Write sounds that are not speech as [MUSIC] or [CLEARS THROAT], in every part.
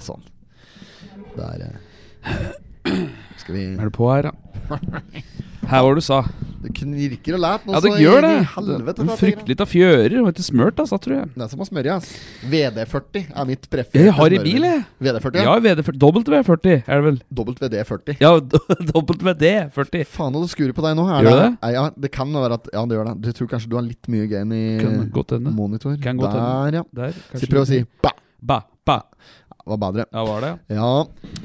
Sånn. Der eh, Skal vi [CLEARS THROAT] Er du på her, ja? Mm. [LAUGHS] Her var det du sa. Det knirker og læt nå, Ja, det så gjør inn det. i Helvete, Den for at jeg- fryktelig av fjører og ikke smørt, altså, tror jeg. Det er som å smøre, ass. VD40 er mitt prefererte Jeg har i smøremiddel. bil, jeg. VD40, ja. Ja, VD40. W40 er det vel? WD40. Ja, [LAUGHS] WD40. Faen, og det skurer på deg nå. Er Gjør det? det? Nei, Ja, det kan være at Ja, det gjør det. Du tror kanskje du har litt mye gain i Kan godt hende. monitor. Kan godt hende. Der, ja. Der, Så prøv å si bæ. Ba, ba. Var bedre. Ja, var det? Ja.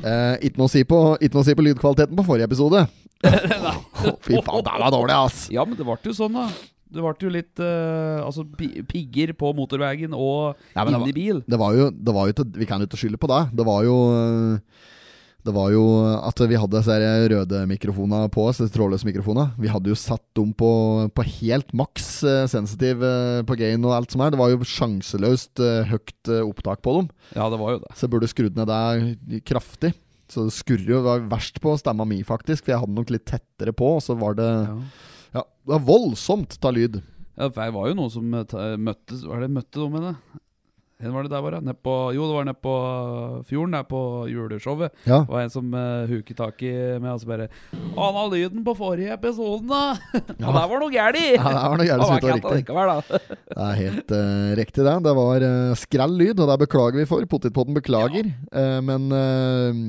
Eh, ikke noe å si på Ikke noe å si på lydkvaliteten på forrige [LAUGHS] episode. Å, Fy faen, det var dårlig, ass. Ja, men det ble jo sånn, da. Det ble jo litt eh, altså, pi- pigger på motorveien og Ja, men det inni bil. Det var jo, det var jo til, Vi kan jo ikke skylde på det. Det var jo øh, Det var jo at vi hadde disse her røde mikrofonene på oss, disse trådløse mikrofonene. Vi hadde jo satt dem på, på helt maks eh, sensitiv eh, på gain og alt som er. Det var jo sjanseløst eh, høyt eh, opptak på dem, Ja, det var jo det. så jeg burde skrudd ned det kraftig. Så det skurrer jo det var verst på stemma mi, faktisk, for jeg hadde den nok litt tettere på, og så var det Ja. Ja, det var voldsomt ta lyd. Ja, for det var jo noen som eh, ta- møttes Hva er det møtte de henne? Hvor var det der, bare? Ned på, jo, det var nede på fjorden, der på juleshowet. Ja. Det var en som uh, huket tak i med og så bare 'Ana lyden på forrige episoden, da!' [LAUGHS] Ja. og der var noe gæli! ja det var noe Ja, gærent som ikke var [LAUGHS] det riktig. likevel, [LAUGHS] da. Det er helt eh, riktig, det. Det var uh, skrell lyd, og det beklager vi for. Potetpotten beklager. Eh, men eh,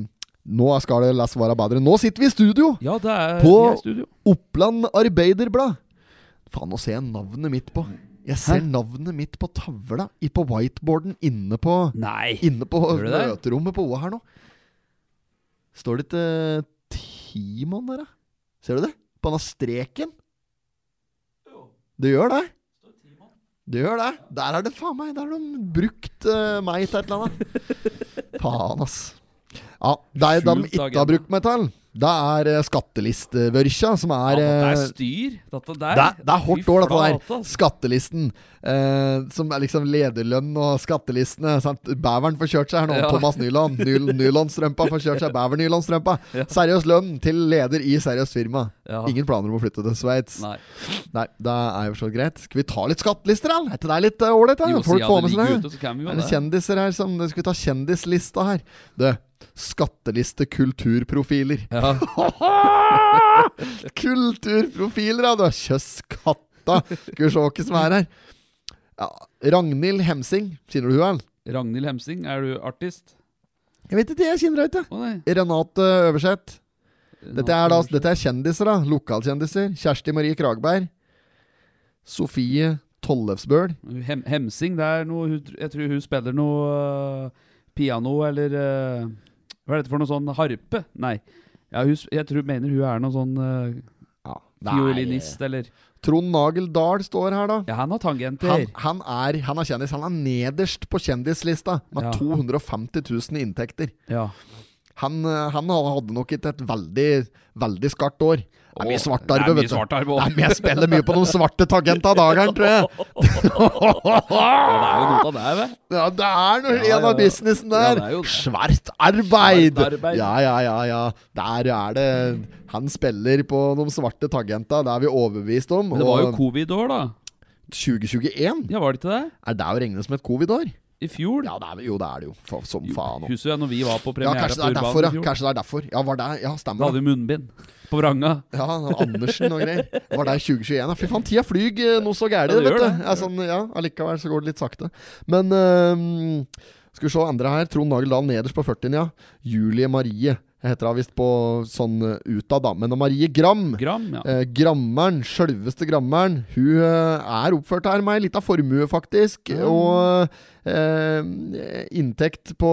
nå skal det less være bedre. Nå sitter vi i studio! Ja, det er På- vi er i studio. Oppland Arbeiderblad. Faen, nå ser jeg navnet mitt på Jeg ser Hæ? navnet mitt på tavla i, på whiteboarden inne på Nei! Inne på Gjør du det? møterommet på OA her nå. Står det ikke eh, Timon der, da? Ser du det? På den streken? Det gjør det. Det gjør det. Der er det faen meg Der har de brukt eh, meg til et eller annet. [LAUGHS] faen, ass. Ja, det er det Skjult de ikke agenda. har brukt meg til. Det er uh, skattelistevørkja, som er ja, det eh, er styr. Dette der. det, er- det er Fy hardt år, dette flate, altså. der. ass. Skattelisten. Eh, som er liksom lederlønn og skattelistene. Sant? Bæveren får kjørt seg her nå. Ja. Thomas Nyland. Nyl, Nylonstrømpa får kjørt seg. Bæver-nylonstrømpa. Ja. Seriøs lønn til leder i seriøst firma. Ja. Ingen planer om å flytte til Sveits. Nei. Nei. det er jo så greit. Skal vi ta litt skattelister, da? Etter det er litt eh, ålreit, da. Jo, Folk siden får det med ligger seg det. ute, så kan vi jo Er det det. kjendiser her som Skal vi ta kjendislista her? Du, skatteliste kulturprofiler. Ja. [LAUGHS] Kulturprofiler, ja! Du har kjøsskatta! Skal vi se hva som er her. Ja, Ragnhild Hemsing. Kjenner du henne? Ragnhild Hemsing, er du artist? Jeg vet ikke, jeg kjenner henne ikke. Å nei. Renate Øverseth. Dette er, da, dette er kjendiser, da. Lokalkjendiser. Kjersti Marie Kragberg. Sofie Tollefsbøl. Hem Hemsing, det er noe hun, Jeg tror hun spiller noe øh, piano eller øh, Hva er dette for noe sånn harpe? Nei. Ja, hun, s- jeg tror, mener hun er noen sånn øh, fiolinist, eller Trond Nagel Dahl står her, da. Ja, han har tangenter. Han, han, er, han er kjendis. Han er nederst på kjendislista, med Ja. 250 000 inntekter. Ja. Han, eh, han hadde nok ikke et veldig, veldig skarpt år. Det er mye svartarbeid, vet vet du. du. Svartarbe, Nei, også. men jeg spiller mye på noen svarte tagenter av dagene, tror [LAUGHS] jeg. Ja, det er jo noe av det, vet du. Ja, det er noe, Ja, ja, en av ja. businessen Ja, der. det er jo det. Svart arbeid. Svart arbeid. Ja, ja, ja, ja. Der er det Han spiller på de svarte tagenta, det er vi overbevist om. Men det var jo Og covid-år, da. 2021, Ja, var det ikke det? er det å regne som et covid-år? I fjor? Ja, det er, jo, det er det jo. Fa- Som faen òg. Husker du når vi var på Ja, premiere kanskje det på er Urban derfor, i ja. fjor? Kanskje det er derfor. Ja, var det, ja Da stemmer det. hadde vi munnbind på vranga. Ja, Andersen og greier. Var der 2021? Ja, fy faen, tida flyg eh, noe så gærent, Ja, det vet gjør du. det. Ja, sånn, ja, allikevel så går det litt sakte. Men ehm, skal vi se andre her. Trond Nagel Dahl nederst på 40-en, ja. Julie Marie heter hun visst på sånn eh, utad, da. Men Marie Gram. Gram, ja. Eh, grammeren, sjølveste grammeren, hun eh, er oppført her med ei lita formue, faktisk. Ja. Og eh, inntekt på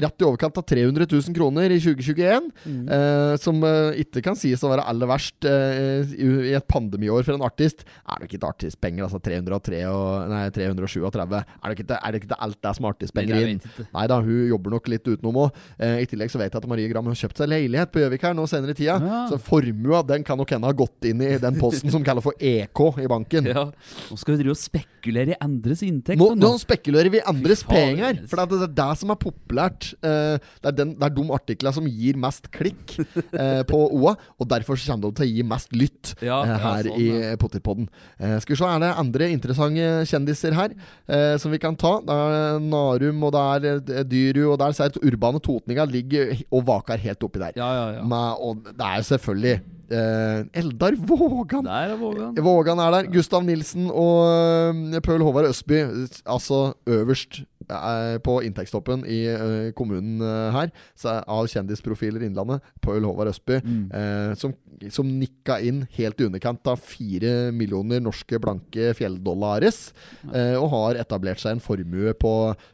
rett i overkant av 300 000 kroner i 2021. Mm. Eh, som eh, ikke kan sies å være aller verst eh, i, i et pandemiår for en artist. Er det ikke et artistpenger, altså 303 og, nei, 337? Er det ikke, det- er det ikke det alt det er som er Nei, artistpenger jeg inn? vet ikke. Nei da, hun jobber nok litt utenom òg. Eh, I tillegg så vet jeg at Marie Gram han har kjøpt seg leilighet på Gjøvik her nå senere i tida. Ja. Så formua den kan nok hende ha gått inn i den posten som kalles for EK i banken. Ja. Nå skal vi drive og spekulere i andres inntekt. Nå, nå spekulerer vi i andres Fy faen, penger! ass. For det er det er det som er populært. eh, det, er den, det er de artiklene som gir mest [LAUGHS] klikk eh, på OA, og derfor så kommer det til å gi mest lytt Ja, eh, ja, her sånn, i ja. Potterpodden. Eh, skal vi se, er det andre interessante kjendiser her eh, som vi kan ta? Det er Narum, og det er eh, Dyru, og der ser jeg at urbane totninga ligger og vaker helt oppi der. Ja, ja, ja. Men, og det er jo selvfølgelig eh, Eldar Vågan! Der er Vågan. Vågan er der. Gustav Nilsen og øhm, Pøl Håvard Østby, s- altså øverst eh, på inntektstoppen i eh, kommunen eh, her, så er- av kjendisprofiler i Innlandet, Pøl Håvard Østby, Mm. eh, som, som nikka inn helt i underkant av fire millioner norske blanke fjelldollares, eh, og har etablert seg en formue på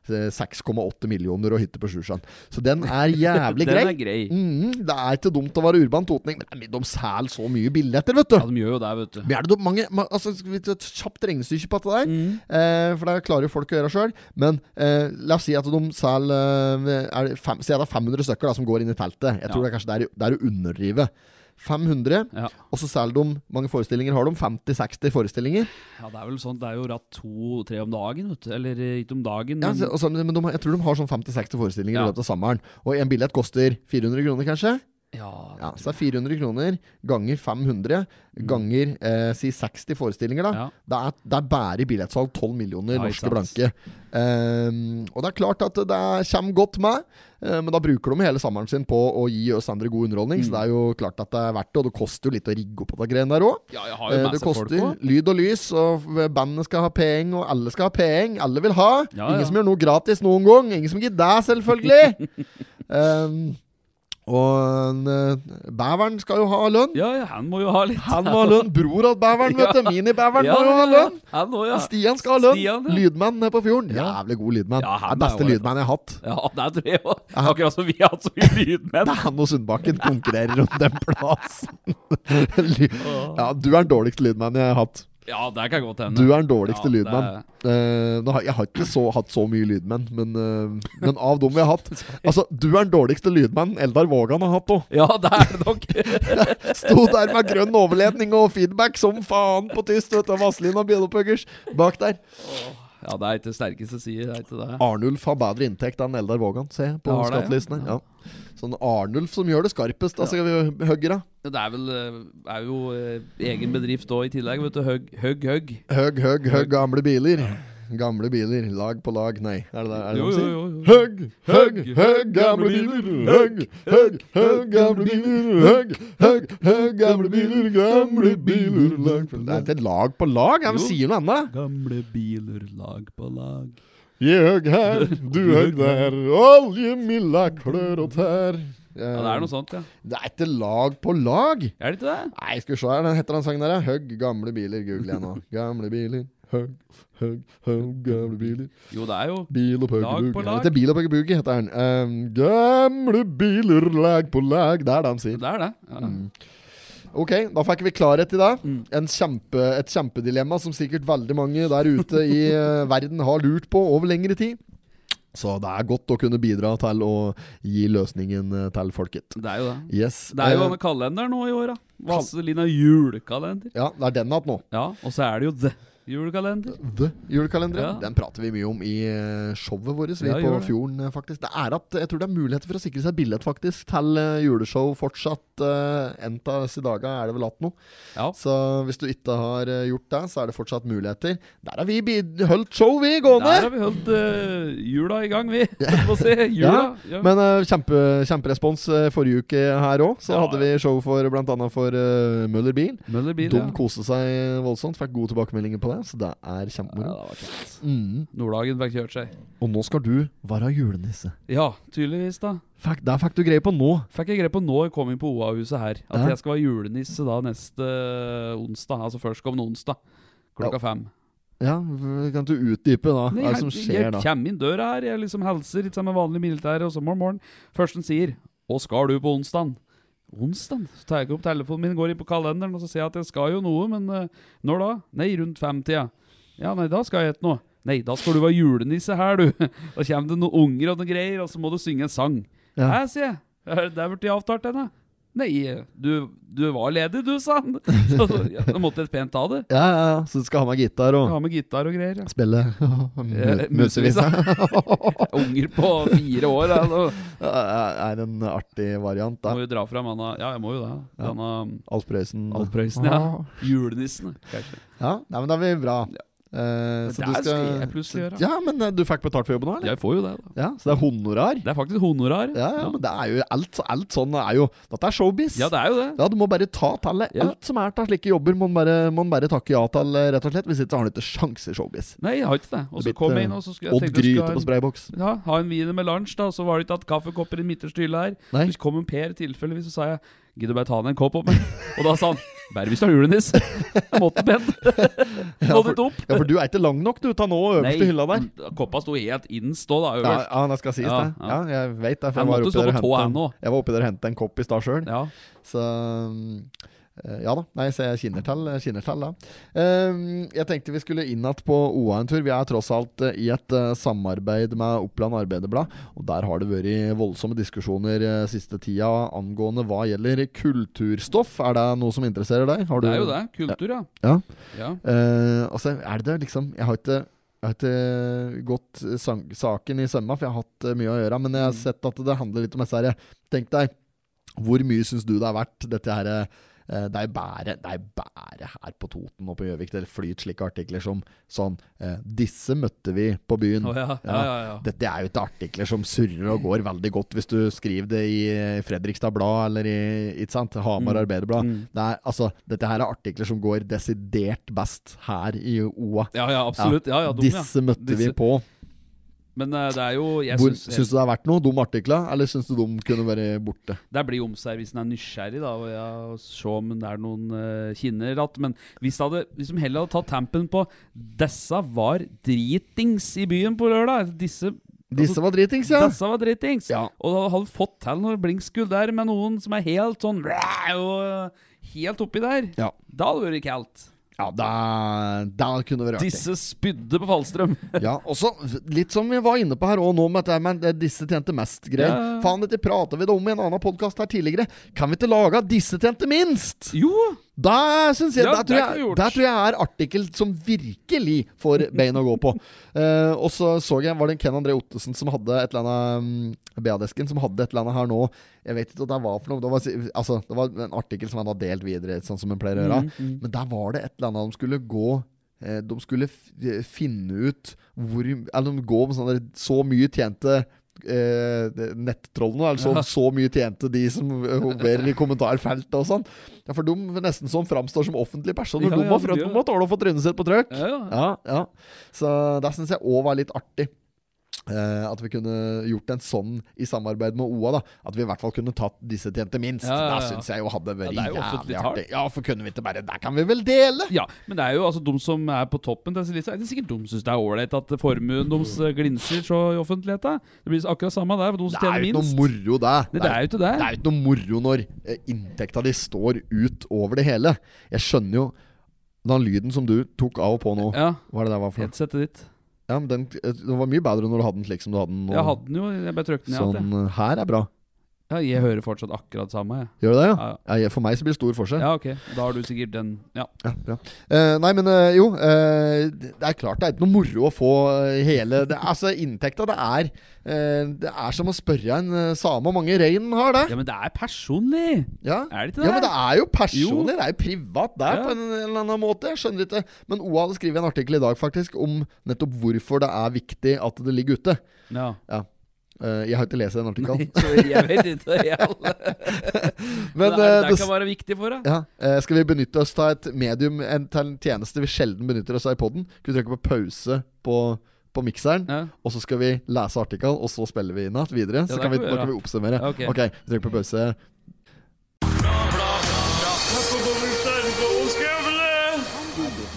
eh, 6,8 millioner og hytte på Sjusjøen. Så den [LAUGHS] er jævlig grei. Den er grei. Mhm, det er ikke dumt å være urban totning, men de selger så mye billetter, vet du! Ja, de gjør jo det, vet du. Men er det da mange, ma- altså, skal vi ta et kjapt regnestykke på Mm. dette der? Eh, for det klarer jo folk å gjøre sjøl. Men eh, la oss si at de selger eh, er det fem, Si at det er 500 stykker da, som går inn i teltet. Jeg tror Ja. det er kanskje der, der å underdrive. 500, Ja. og så selger de mange forestillinger har de? 50-60 forestillinger? Ja, det er vel sånn, det er jo ratt to-tre om dagen, vet du. Eller eh, ikke om dagen, Ja, men så, og så, men de, har- jeg tror de har sånn 50-60 forestillinger Ja. i løpet av sommeren. Og en billett koster 400 kroner, kanskje? ja, Ja, Så det er 400 kroner ganger 500 ganger eh, si 60 forestillinger, da. ja. Det er, det er bare i billettsalg 12 millioner Ja, norske ikke blanke. sant. Ehm, og det er klart at det er- kommer godt med, eh, men da bruker de hele sommeren sin på å gi oss andre god underholdning. Så det er Mm. jo klart at det er verdt det, og det koster jo litt å rigge opp på det greiene der òg. ja, jeg har jo Eh, Det med seg folk koster òg. lyd og lys, og bandet skal ha penger, og alle skal ha penger. Alle vil ha. Ja, Ingen ja. som gjør noe gratis noen gang. Ingen som gir deg, [LAUGHS] selvfølgelig. Ehm, og eh, bæveren skal jo ha lønn. Ja, ja, han må jo ha litt. Han må ha lønn. Bror til bæveren, vet du. Minibæveren [LAUGHS] ja, må jo ha lønn. Han òg, ja. Stian skal ha lønn! Stian, ja. Lydmann nede på fjorden. Ja. Jævlig god lydmann. Ja, han det er beste er ålreit, lydmann jeg har hatt. Ja, det tror jeg òg. Akkurat som vi har hatt så mye lydmenn. Det er han og Sundbakken konkurrerer om den plassen. [LAUGHS] Ly- ja, du er den dårligste lydmannen jeg har hatt. Ja, det kan godt hende. Du er den dårligste Ja, det er- lydmann. Eh, nå har- jeg har ikke så, hatt så mye lydmenn, men, eh, men av dem vi har [LAUGHS] hatt Altså, du er den dårligste lydmannen Eldar Vågan har hatt òg. Ja, det er det nok. [LAUGHS] Sto der med grønn overledning og feedback som faen på tyst, vet du. Vazelin og bjøllepuggers bak der. Ja, det er ikke sterkeste side, det er ikke det. Arnulf har bedre inntekt enn Eldar Vågan, ser jeg på Ja, har det, ja. skattelistene. Ja. Sånn Arnulf som gjør det skarpest, da skal vi høgge, da. Det er vel eh, er jo eh, egen bedrift òg i tillegg, vet du. Høgg, høgg, høgg. Høgg, høgg, høgg gamle biler. Gamle biler, lag på lag, nei. Er det det, er det Jo, de jo, sier? jo. jo. Høgg, høgg, høgg gamle biler. Høgg, høgg, høgg gamle biler. Høgg, høgg, høgg gamle biler. Gamle biler, lag på lag. Det er ikke lag på lag, han Jo. sier noe annet. Gamle biler, lag på lag. Jeg høgg [LAUGHS] her, du høgg der. Olje, milda, klør og tær. Ja, det er noe sånt, ja. Det er ikke lag på lag. Er det ikke det? Nei, skal vi se her, den heter den sangen der, ja. Høgg gamle biler, googler jeg nå. Gamle biler, høgg, høgg, høgg gamle biler. Jo, det er jo Bil og Lag på puggebugg. lag. Heter bil og puggebugg, heter den. Ehm, gamle biler, lag på lag. Det er det han sier. Det er det. Ja. Mm. Ok, da fikk vi klarhet i det. Mm. En kjempe, et kjempedilemma som sikkert veldig mange der ute i eh, [LAUGHS] verden har lurt på over lengre tid. Så det er godt å kunne bidra til å gi løsningen eh, til folket. Det er jo det. Yes. Det er jo eh, denne kalenderen nå i år, da. Vazelina julekalender. ja, det er den igjen nå. Ja, og så er det jo The julekalender. The julekalenderen. Ja. Den prater vi mye om i eh, showet vårt vi Ja, på gjør det. Fjorden, eh, faktisk. Det er at eh, jeg tror det er muligheter for å sikre seg billett faktisk til eh, juleshow fortsatt. Uh, en av disse dagene er det vel att nå. Ja. Så hvis du ikke har eh, gjort det, så er det fortsatt muligheter. Der har vi bid- holdt show, vi, gående! Der har vi holdt eh, jula i [LAUGHS] gang, vi. Få se. Jula. Ja. Men eh, kjempe, kjemperespons eh, forrige uke her òg. Så Ja, hadde vi show for bl.a. for eh, Møller Bil. Møller bil, De ja. koste seg voldsomt, fikk gode tilbakemeldinger på det. Så det er Ja, det kjempemoro. var kjent. Mm. Nordhagen fikk kjørt seg. Og nå skal du være julenisse. Ja, tydeligvis, da. Fikk, det fikk du greie på nå. Fikk jeg greie på nå jeg kom inn på OA-huset her, at Ja. jeg skal være julenisse da neste onsdag. Altså førstkommende onsdag. Ja. Klokka fem. Ja, v- Kan du utdype da? Hva er det som jeg, skjer jeg da? kommer inn døra her, jeg liksom hilser litt sammen med vanlig militær, og så morgen, morgen. Først han sier 'Hva skal du på onsdag?' Onsdag? Så tar jeg opp telefonen min, går inn på kalenderen og så ser jeg at jeg skal jo noe, men eh, når da? Nei, rundt femtida. Ja, nei, da skal jeg et noe. Nei, da skal du [LAUGHS] være julenisse her, du. Da kommer det noen unger og noen greier, og så må du synge en sang. Ja. Hæ, sier jeg. Er det Der ble de avtalt, den, da. Nei, du, du var ledig, du, sa han. [LAUGHS] Så, så, ja, da måtte jeg pent ta det. Ja, ja, ja. Så du skal ha med gitar og Ha med gitar og greier. Ja. spille [LAUGHS] Eh, musevisa? [LAUGHS] Unger på fire år, da. så er en artig variant, da. Må jo dra fram han Ja, jeg må jo det. Ja. Ah. Denne Alf Prøysen. Alf Prøysen, ja. julenissen. kanskje. Ja, nei, men da blir det bra. Eh, Men så det du skal skal jeg plutselig gjøre. Ja, men eh, du fikk betalt for jobben nå, eller? Jeg får jo det, da. Ja, så det er honorar? Det er faktisk honorar. Ja, ja, men det er jo alt, alt sånn er jo Dette er showbiz. Ja, det er jo det. Ja, du må bare ta tallet. Ja. Alt som er av slike jobber, må man bare, må man bare takke ja til, eh, rett og slett. Hvis ikke har du ikke sjans i showbiz. Nei, jeg har ikke det. Og Det så er eh, kom litt, jeg inn, og så skulle jeg Odd tenke jeg Gryte på skulle ha en, sprayboks. ja, ha en wiener med lunsj, da. Så var det ikke hatt kaffekopper i midterste hylle her. Nei. Så kom en Per tilfeldigvis, og så sa jeg Gidder du bare ta ned en kopp opp [LAUGHS] meg? Og da sa han bare hvis du har julenis. [LAUGHS] Jeg måtte bent. [LAUGHS] Ja, Få for- det opp. Ja, for du er ikke lang nok, du. Ta nå øverste hylla der. Nei, koppa sto helt innstå da, Ja, øverst. ja, det skal sies, Ja, det. Ja, ja. jeg vet det. For Han jeg var måtte oppi stå der og på tå, han hentet nå. en- jeg var oppi der og hentet en kopp i stad sjøl. Ja. Så um, eh, ja da. Nei, så jeg kjenner til, jeg kjenner til da. Um, jeg tenkte vi skulle inn igjen på OA en tur. Vi er tross alt eh, i et eh, samarbeid med Oppland Arbeiderblad, og der har det vært voldsomme diskusjoner eh, siste tida angående hva gjelder kulturstoff. Er det noe som interesserer deg? Har du, Det er jo det. Kultur, ja. Ja. ja. Eh, altså, er det liksom Jeg har ikke jeg har ikke gått sang, saken i sømma, for jeg har hatt eh, mye å gjøre. Men jeg har Mm. sett at det handler litt om disse her Tenk deg, hvor mye syns du det er verdt, dette her eh, Det er bare, det er bare her på Toten og på Gjøvik det flyter slike artikler som sånn eh, Disse møtte vi på byen. Å, ja. Ja, ja, ja. Dette er jo ikke artikler som surrer og går veldig godt hvis du skriver det i eh, Fredrikstad Blad eller i ikke sant? Hamar Mm. Arbeiderblad. Mm. Det er, altså, dette her er artikler som går desidert best her i OA. ja, ja, absolutt. Ja, ja, dum, ja. Disse møtte vi Disse- på. Men eh, det er jo jeg Hvor, synes, syns du det er verdt noe, de artiklene, eller syns du de kunne vært borte? Det blir omsær hvis en er nysgjerrig, da, og ja, og se om det er noen eh, kinner att. Men hvis de hadde, hvis de heller hadde tatt tampen på 'Dessa var dritings i byen på lørdag'. Disse, Disse var dritings, ja. dessa var dritings. Ja. Og da hadde fått til noen blinkskudd der med noen som er helt sånn "Blæh!" og eh, helt oppi der. Ja. Da hadde det vært kaldt. ja da, da kunne det vært artig. Disse spydde på [LAUGHS] Fallstrøm. Ja, også litt som vi var inne på her òg nå, med at det- men det er disse tjente mest-greier. Ja, ja. Faen, dette prata vi da om i en annen podkast her tidligere. Kan vi ikke lage at 'Disse tjente minst'? jo! Da syns jeg, Ja, det det tror kunne vi jeg gjort. Der tror jeg er artikkel som virkelig får [LAUGHS] bein å gå på. Eh, og så så jeg var det en Ken André Ottesen som hadde et eller annet um, BA-desken som hadde et eller annet her nå. Jeg vet ikke hva det var for noe. Det var, si- altså, det var en artikkel som han hadde delt videre, sånn som han pleier å gjøre. Mm. Men der var det et eller annet de skulle gå eh, De skulle f eh, finne ut hvor Eller de gå med sånne der, så mmye tjente eh, det- nettrollene. Eller så, Ja. så mye tjente de som eh, hoverer i kommentarfeltet og sånn. Ja, for de nesten som framstår som offentlige personer. Ja, de ja, må de frø- gjør de må tåle å få trynet sitt på trøkk. Ja, ja. Ja, ja. Så det syns jeg òg var litt artig. Eh, at vi kunne gjort en sånn i samarbeid med OA. da At vi i hvert fall kunne tatt disse tjente minst. Ja, ja, ja. Det syns jeg jo hadde vært Ja, det er jo offentlig jævlig tall. artig. Ja, for kunne vi ikke bare Der kan vi vel dele! Ja, men det er jo altså de som er på toppen til Silisa, Det er sikkert de som syns det er ålreit at formuen deres eh, glinser så i offentligheten. Det blir akkurat samme der, for de Det som er tjener jo ikke minst. noe moro, det. Nei, det er jo ikke det. Det er jo ikke noe moro når eh, inntekta di står ut over det hele. Jeg skjønner jo den lyden som du tok av og på nå. Ja, Hva er det der var for noe? headsetet ditt. Ja, men den, eh, det var mye bedre når du hadde den slik som du hadde den nå. Jeg hadde den jo, jeg bare trykte den i alt. jeg. sånn eh, her er bra. Ja, jeg hører fortsatt akkurat samme, jeg. Gjør du det, ja? Ja, ja. ja? jeg- For meg så blir det stor forskjell. ja, ok. Da har du sikkert den Ja. Ja, bra. Eh, nei, men eh, jo. eh, det det er klart det er ikke noe moro å få eh, hele det, Altså, inntekta, det er eh, Det er som å spørre en eh, same hvor mange rein den har, det. ja men det er personlig! Ja. Er det ikke det? Ja, men det er jo personlig. Det er jo privat der Ja. på en eller annen måte. Jeg skjønner ikke. Men OA hadde skrevet en artikkel i dag faktisk om nettopp hvorfor det er viktig at det ligger ute. [LAUGHS] Ja. Eh, jeg har ikke lest den artikkelen. Så jeg vet ikke, jeg. [LAUGHS] Men det, eh, er, det det kan være viktig for deg. ja, eh, skal vi benytte oss av et medium, en, til en tjeneste vi sjelden benytter oss av i poden? Skal vi trykke på pause på, på mikseren, Ja. og så skal vi lese artikkelen, og så spiller vi inn igjen videre? Ja, Så det kan vi, kan vi nå gjøre. kan vi oppsummere. Ok. ok, vi trykker på pause.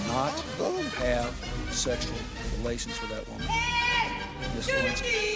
not have sexual relations with that woman. Miss Lewinsky.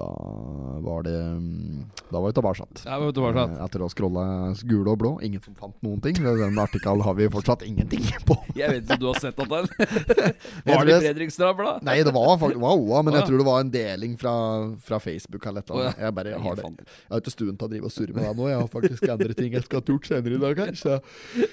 da var det mm, Da var vi tilbake. Ja, vet du hva, sant? Eh, Etter å ha scrolla gule og blå. Ingen som fant noen ting. I den artikkelen har vi fortsatt ingenting [LAUGHS] på. Jeg vet ikke om du har sett [LAUGHS] at den tror Var det jeg- Fredrikstad Blad? Nei, det var faktisk var OA, men Å, ja. jeg tror det var en deling fra, fra Facebook eller et eller annet. Jeg bare har det Faen. Jeg har ikke stuen til å drive og surre med deg nå. Jeg har faktisk andre ting jeg skal ha gjort senere i dag her, så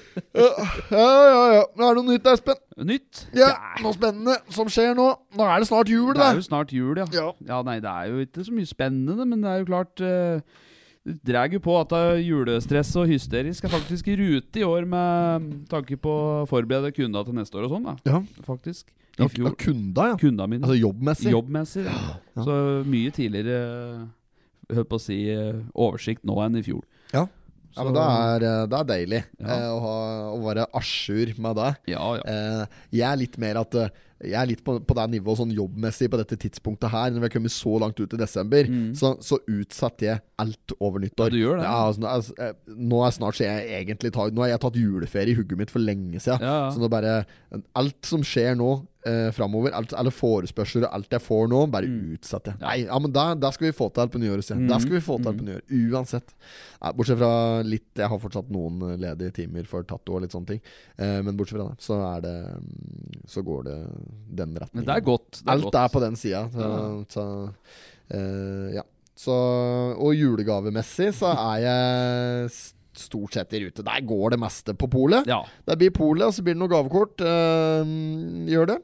[LAUGHS] Ja, ja, ja. ja. Nå er det noe nytt, Espen. Nytt? Ja, noe spennende som skjer nå. Nå er det snart jul, Det da. er jo snart jul, ja. Ja. Nei, det er jo ikke så mye spennende, men det er jo klart eh, Det drar jo på at det er julestress og hysterisk er faktisk i rute i år med mm, tanke på å forberede kunda til neste år og sånn, da. Ja. Faktisk. Ja, I fjor. kunda, ja. Kunda mine. Altså jobbmessig. Jobbmessig. da. ja. Så mye tidligere eh, Hør på å si eh, oversikt nå enn i fjor. Ja. Ja, men det er, eh, det er deilig Ja. eh, å, ha, å være à jour med det. Ja, ja. Eh, jeg er litt mer at eh, Jeg er litt på, på det nivået sånn jobbmessig på dette tidspunktet her. Når vi har kommet så langt ut i desember, så, så utsetter jeg alt over nyttår. Mm. Ja, du gjør det. Ja, altså, nå er- eh, nå er snart så jeg egentlig tar, Nå har jeg tatt juleferie i hugget mitt for lenge siden. Ja, ja. Så nå bare Alt som skjer nå eh, framover, alt, alle forespørsler og alt jeg får nå, bare Mm. utsetter jeg. Nei, ja, men da, da skal vi få til på nyåret, sier jeg. Da skal vi få til Mm. på nyåret. Uansett. Nei, bortsett fra litt Jeg har fortsatt noen ledige timer for tatto og litt sånne ting. Eh, men bortsett fra det, så er det mm, Så går det den retningen. Men det er godt. Det er Alt godt. er på den sida. Så, så eh, ja. Så, og julegavemessig så er jeg s- stort sett i rute. Der går det meste på polet. Ja. Det blir polet, og så blir det noen gavekort. eh, gjør det.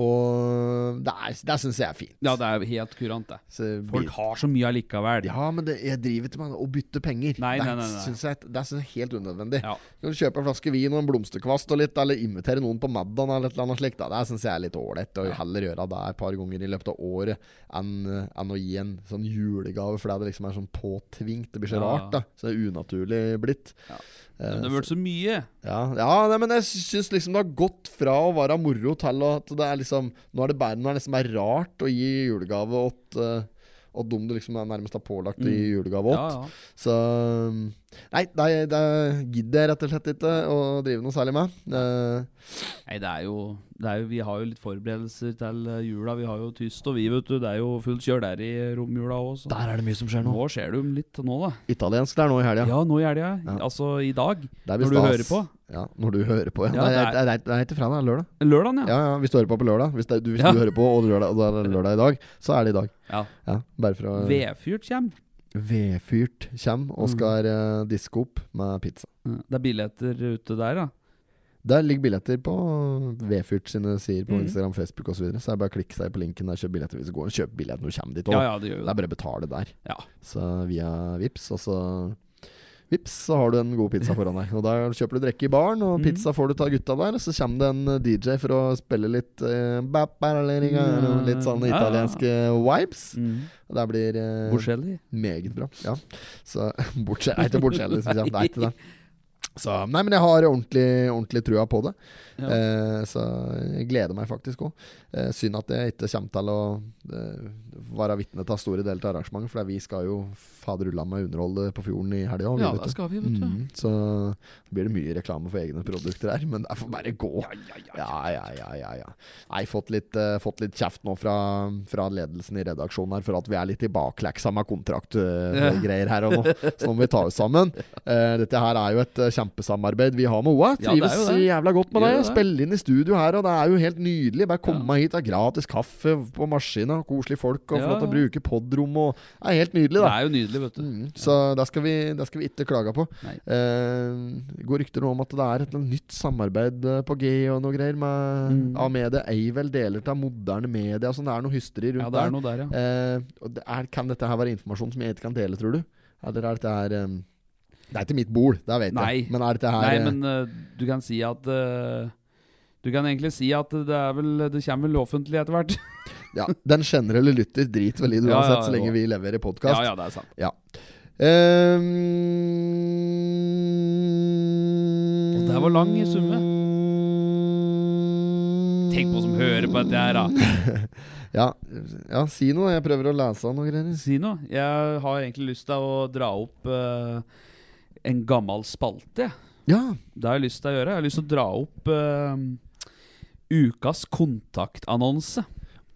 Og det, er, det syns jeg er fint. ja, det er helt kurant, det. Så blir- Folk har så mye allikevel. ja, men det, jeg driver ikke med å bytte penger. Nei, det nei, nei, nei. syns jeg, det synes jeg er helt unødvendig. Ja. Du kan kjøpe en flaske vin og en blomsterkvast og litt, eller invitere noen på middagen eller et eller annet slikt. da. Det syns jeg er litt ålreit. Og heller gjøre det et par ganger i løpet av året enn enn å gi en sånn julegave fordi det liksom er sånn påtvingt. Det blir så Ja. rart, da. Så det er unaturlig blitt. Ja. Eh, Men Det har vært så mye. ja, ja nei, men jeg syns liksom det har gått fra å være moro til at det er liksom Nå er det bare, nå er det liksom bare rart å gi julegave åt eh, Åt dem du liksom er nærmest har pålagt å gi julegave Mm. Ja, åt. ja. Så um, Nei, det, det gidder jeg rett og slett ikke å drive noe særlig med. Eh, Nei, det er, jo, det er jo Vi har jo litt forberedelser til eh, jula. Vi har jo tyst og vi, vet du. Det er jo fullt kjør der i romjula òg, så der er det mye som skjer nå skjer det jo litt nå, da. Italiensk der nå i helga. Ja, nå i helga. Ja. Altså i dag. Det er Når visst du stas. hører på. Ja, når du hører på, ja. Ja, Nei, det er- det, er, det, er, det er ikke fredag, det er lørdag. Lørdagen, ja. Ja, ja, Hvis du hører på på lørdag, hvis, det, er- du, hvis Ja. du hører på og lørdag, og det er lørdag i dag, så er det i dag. ja. Ja, øh. bare for å Vedfyrt kommer. Vedfyrt kommer Mm. og skal eh, diske opp med pizza. Ja, Det er billetter ute der, ja. Der ligger billetter på Vedfyrt sine sider på Mhm. Instagram, Facebook osv. Så, videre. så det er bare å klikke seg på linken der, kjøp billetter hvis du går og kjøper billett når du kommer dit. Ja, også. ja, det gjør jo Det det. er bare å betale der. Ja. Så via Vips og så Vips, så har du en god pizza foran deg. Og Da kjøper du drikke i baren, og Mhm. pizza får du av gutta der. Og så kommer det en DJ for å spille litt eh, ba- ba- la- la- la- la- Litt sånn Ja, ja. italienske vibes. Mm. Og det blir eh, Borselli. Meget bra. Ja. Så [LAUGHS] bortsett Nei, til bortsett, liksom. Nei, til det. Så, nei, men jeg har ordentlig, ordentlig trua på det. Ja. Eh, så jeg gleder meg faktisk òg. Eh, synd at jeg ikke kommer til å eh, være vitne til store deler av arrangementet, for vi skal jo faderulla meg underholde på fjorden i helga. vi, Ja, vet der du. skal vi, vet du. Mhm, så blir det mye reklame for egne produkter her, men det får bare gå. Ja, Ja, ja, ja. ja, ja, ja, ja. Nei, fått litt, eh, fått litt kjeft nå fra, fra ledelsen i redaksjonen her for at vi er litt i bakleksa med kontraktgreier Ja. greier her og nå. Så nå må vi ta oss sammen. Eh, dette her er jo et eh, kjempesamarbeid vi har med OA. Ja, det er Trives jo det. jævla godt med Gjør det. det. Spille inn i studio her, og det er jo helt nydelig. Bare komme Ja. meg hit. Det er gratis kaffe på maskina, koselige folk, og Ja, få lov til å ja. bruke podrom og Det er helt nydelig, Det da. er jo nydelig, vet du. Mm, så det skal, vi, det skal vi ikke klage på. Nei. Eh, det går rykter nå om at det er et nytt samarbeid eh, på G og noe greier med Mm. A-media. Eivel deler til moderne media. Sånn, det er noe hysteri rundt Ja, det er noe der, ja. der. Eh, og det er, kan dette her være informasjon som jeg ikke kan dele, tror du? Eller er dette her eh, Det er ikke mitt bol, det vet Nei. jeg. Men er dette her Nei, eh, men eh, du kan si at eh, Du kan egentlig si at det er vel Det kommer vel offentlig etter hvert. ja, Den generelle lytter driter vel i det [LAUGHS] Ja, uansett, ja, så lenge jo. vi leverer podkast. ja, ja, det er sant. Ehm, Um, Og der var lang i summe. Tenk på oss som hører på dette her, da. [LAUGHS] Ja, ja, si noe. Jeg prøver å lese av noe greier. Si noe. Jeg har egentlig lyst til å dra opp eh, en gammel spalte. jeg. Ja, Det har jeg lyst til å gjøre. Jeg har lyst til å dra opp eh, ukas kontaktannonse.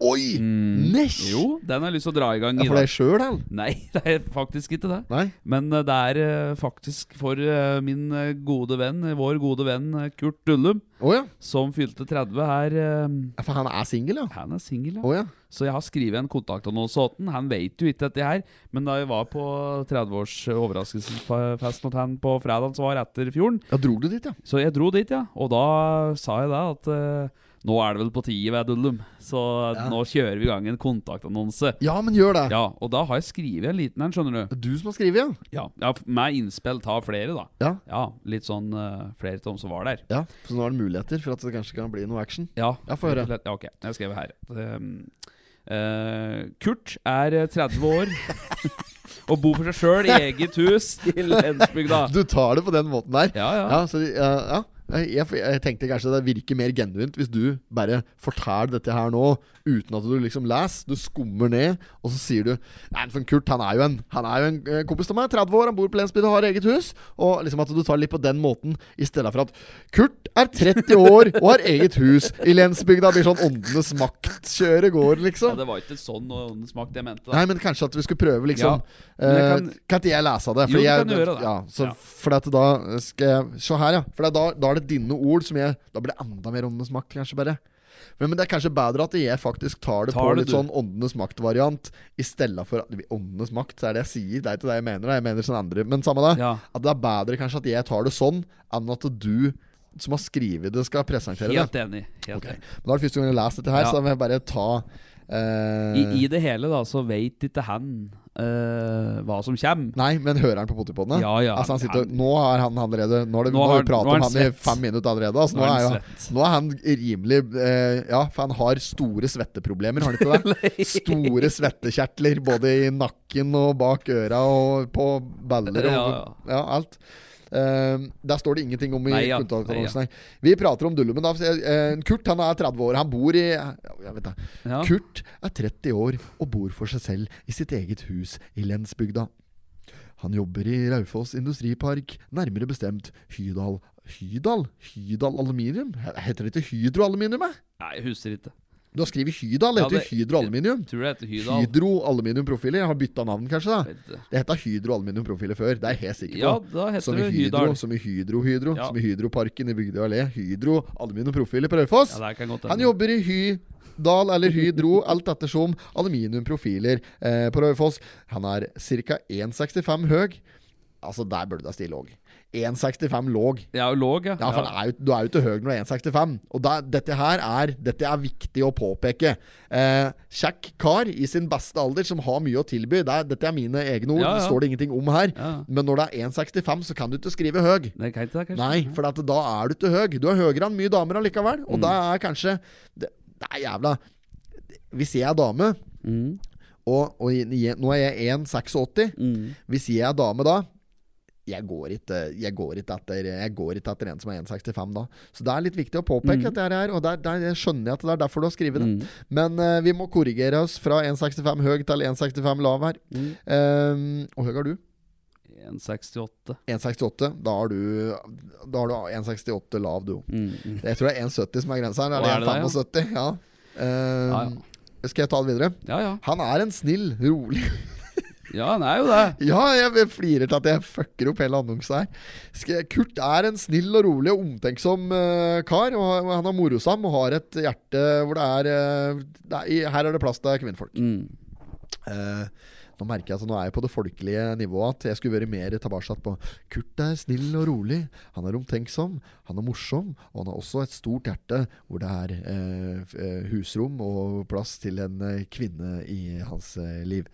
Oi! Nesh! Jo, den har jeg lyst til å dra i gang. Mm. Ja, i for dag. deg sjøl, han? Nei, [LAUGHS] det er faktisk ikke det. Nei? Men eh, det er eh, faktisk for eh, min eh, gode venn, eh, vår gode venn eh, Kurt Dullum, Å ja. som fylte 30 her. eh, Ja, For han er singel, ja? Han er singel, ja. Å ja. Så jeg har skrevet en kontaktannonse til han. Han vet jo ikke dette her, men da jeg var på 30-års overraskelsesfest hos han på fredag, så var det etter fjorden. Ja, drog du dit, ja? Så jeg dro dit, ja. Og da sa jeg da at eh, nå er det vel på tide, ved Dullum. Så nå kjører vi i gang en kontaktannonse. Ja, men gjør det. Ja, og da har jeg skrevet en liten en, skjønner du. Det er Du som har skrevet, ja? Ja, ja f- Med innspill ta flere, da. Ja. litt sånn eh, flere til dem som var der. ja. Så nå er det muligheter for at det kanskje kan bli noe action? Ja, Ja, få høre. rett og slett. Ja, ok, jeg skrev her. Ehm, eh, Kurt er eh, 30 [LAUGHS] år og bor for seg sjøl i eget hus i Lensbygda. Du tar det på den måten der? [LAUGHS] Ja, ja. Ja, så, de- ja, ja. Jeg, jeg, jeg tenkte kanskje det virker mer genuint hvis du bare forteller dette her nå uten at du liksom leser. Du skummer ned, og så sier du Nei, for Kurt han er jo en Han er jo en eh, kompis av meg. 30 år, han bor på Lensbygda, har eget hus. Og liksom at du tar litt på den måten i stedet for at Kurt er 30 år og har eget hus i Lensbygda. Det Blir sånn åndenes makt-kjøret går, ja, liksom. Det var ikke sånn og åndens makt jeg mente. da Nei, men kanskje at vi skulle prøve, liksom. Ja, men jeg eh, kan- kan... ikke jeg lese av det? Jo, du jeg, kan gjøre det. Ja, så Ja. Fordi at da skal jeg Se her, ja. For da, da er det dine ord som jeg Da blir det enda mer Åndenes makt, kanskje, bare. Men, men det er kanskje bedre at jeg faktisk tar det Tar på det, litt du. sånn Åndenes makt-variant, i stedet for at- Åndenes makt, så er det jeg sier. Det er ikke det jeg mener. da. Jeg mener sånn andre Men samme det. Ja. At det er bedre kanskje at jeg tar det sånn, enn at du som har skrevet det, skal presentere det. Helt enig. Helt Ok. enig. Men da er det første gang jeg leser dette her, Ja. så da må jeg bare ta eh, I, I det hele da, så veit ikke han eh, hva som kommer. Nei, men hører han på potipodene? Ja, ja, altså, han sitter, han- nå har han allerede Nå har det- Nå nå har har- vi pratet nå er om han han i svett. fem minutter allerede. Altså, Nå nå, er er han jo, nå er han rimelig eh, Ja, for han har store svetteproblemer, har han ikke [LAUGHS] det? [LAUGHS] store svettekjertler både i nakken og bak øra og på baller og ja, Ja, alt. Eh, der står det ingenting om i Nei, ja. kontaktannonsen. her. Vi prater om Dullumen. da. Eh, Kurt han er 30 år. Han bor i Jeg vet da Ja. Kurt er 30 år og bor for seg selv i sitt eget hus i Lensbygda. Han jobber i Raufoss industripark, nærmere bestemt Hydal Hydal? Hydal Aluminium? Heter det ikke Hydroaluminium? eh? Nei, jeg husker ikke. Du har skrevet Hydal, det heter Ja, jo det- Hydroaluminium. Tror det heter Hydal. Hydroaluminiumprofiler. Jeg har bytta navn, kanskje. da Vet ikke. Det heta Hydroaluminiumprofiler før, det er jeg helt sikker på. Ja, da heter som i det Hydro, Hydal. som i Hydro, Hydro, Ja. som i Hydroparken i Bygdøy allé. Hydro aluminiumprofiler på Raufoss. Ja, det kan godt Han hende. jobber i Hydal eller Hydro, alt ettersom. Aluminiumprofiler eh, på Raufoss. Han er ca. 1,65 høy. Altså, der burde du deg stille òg. 1,65 låg. Jeg er jo låg, ja. Ja, for han er jo, Du er jo ikke høy når du er 1,65. Og da, dette her er Dette er viktig å påpeke. Eh, kjekk kar i sin beste alder som har mye å tilby. Det er, dette er mine egne ord. Ja, ja. Det står det ingenting om her. Ja. Men når det er 1,65, så kan du ikke skrive høy. Nei, kan ikke det, kanskje? Nei, for at da er du ikke høy. Du er høyere enn mye damer allikevel. Og da er kanskje det, det er jævla Hvis jeg er dame, Mm. og, og jeg, nå er jeg 1,86 Mm. Hvis jeg er dame da jeg går, ikke, jeg, går ikke etter, jeg går ikke etter en som er 1,65 da. Så det er litt viktig å påpeke dette her, og der, der skjønner jeg at det er derfor du har skrevet det. Men eh, vi må korrigere oss fra 1,65 høy til 1,65 lav her. Mm. Eh, og høy har du? 1,68. 1,68. Da har du, da har du 1,68 lav, du. Mm. mm. Jeg tror det er 1,70 som er grensa her. Å, er Eller det det, ja? 1,75. Ja. Eh, Ja, ja. Skal jeg ta det videre? Ja, ja. Han er en snill, rolig [LAUGHS] Ja, han er jo det. Ja, jeg flirer til at jeg fucker opp hele annonsen her. Skal jeg- Kurt er en snill og rolig og omtenksom eh, kar. Og han- han er morosam og har et hjerte hvor det er, eh, det er i- Her er det plass til kvinnfolk. Mm. Eh, nå merker jeg at nå er jeg på det folkelige nivået at jeg skulle vært mer tilbake på Kurt er snill og rolig, han er omtenksom, han er morsom, og han har også et stort hjerte hvor det er eh, f- eh, husrom og plass til en eh, kvinne i hans eh, liv.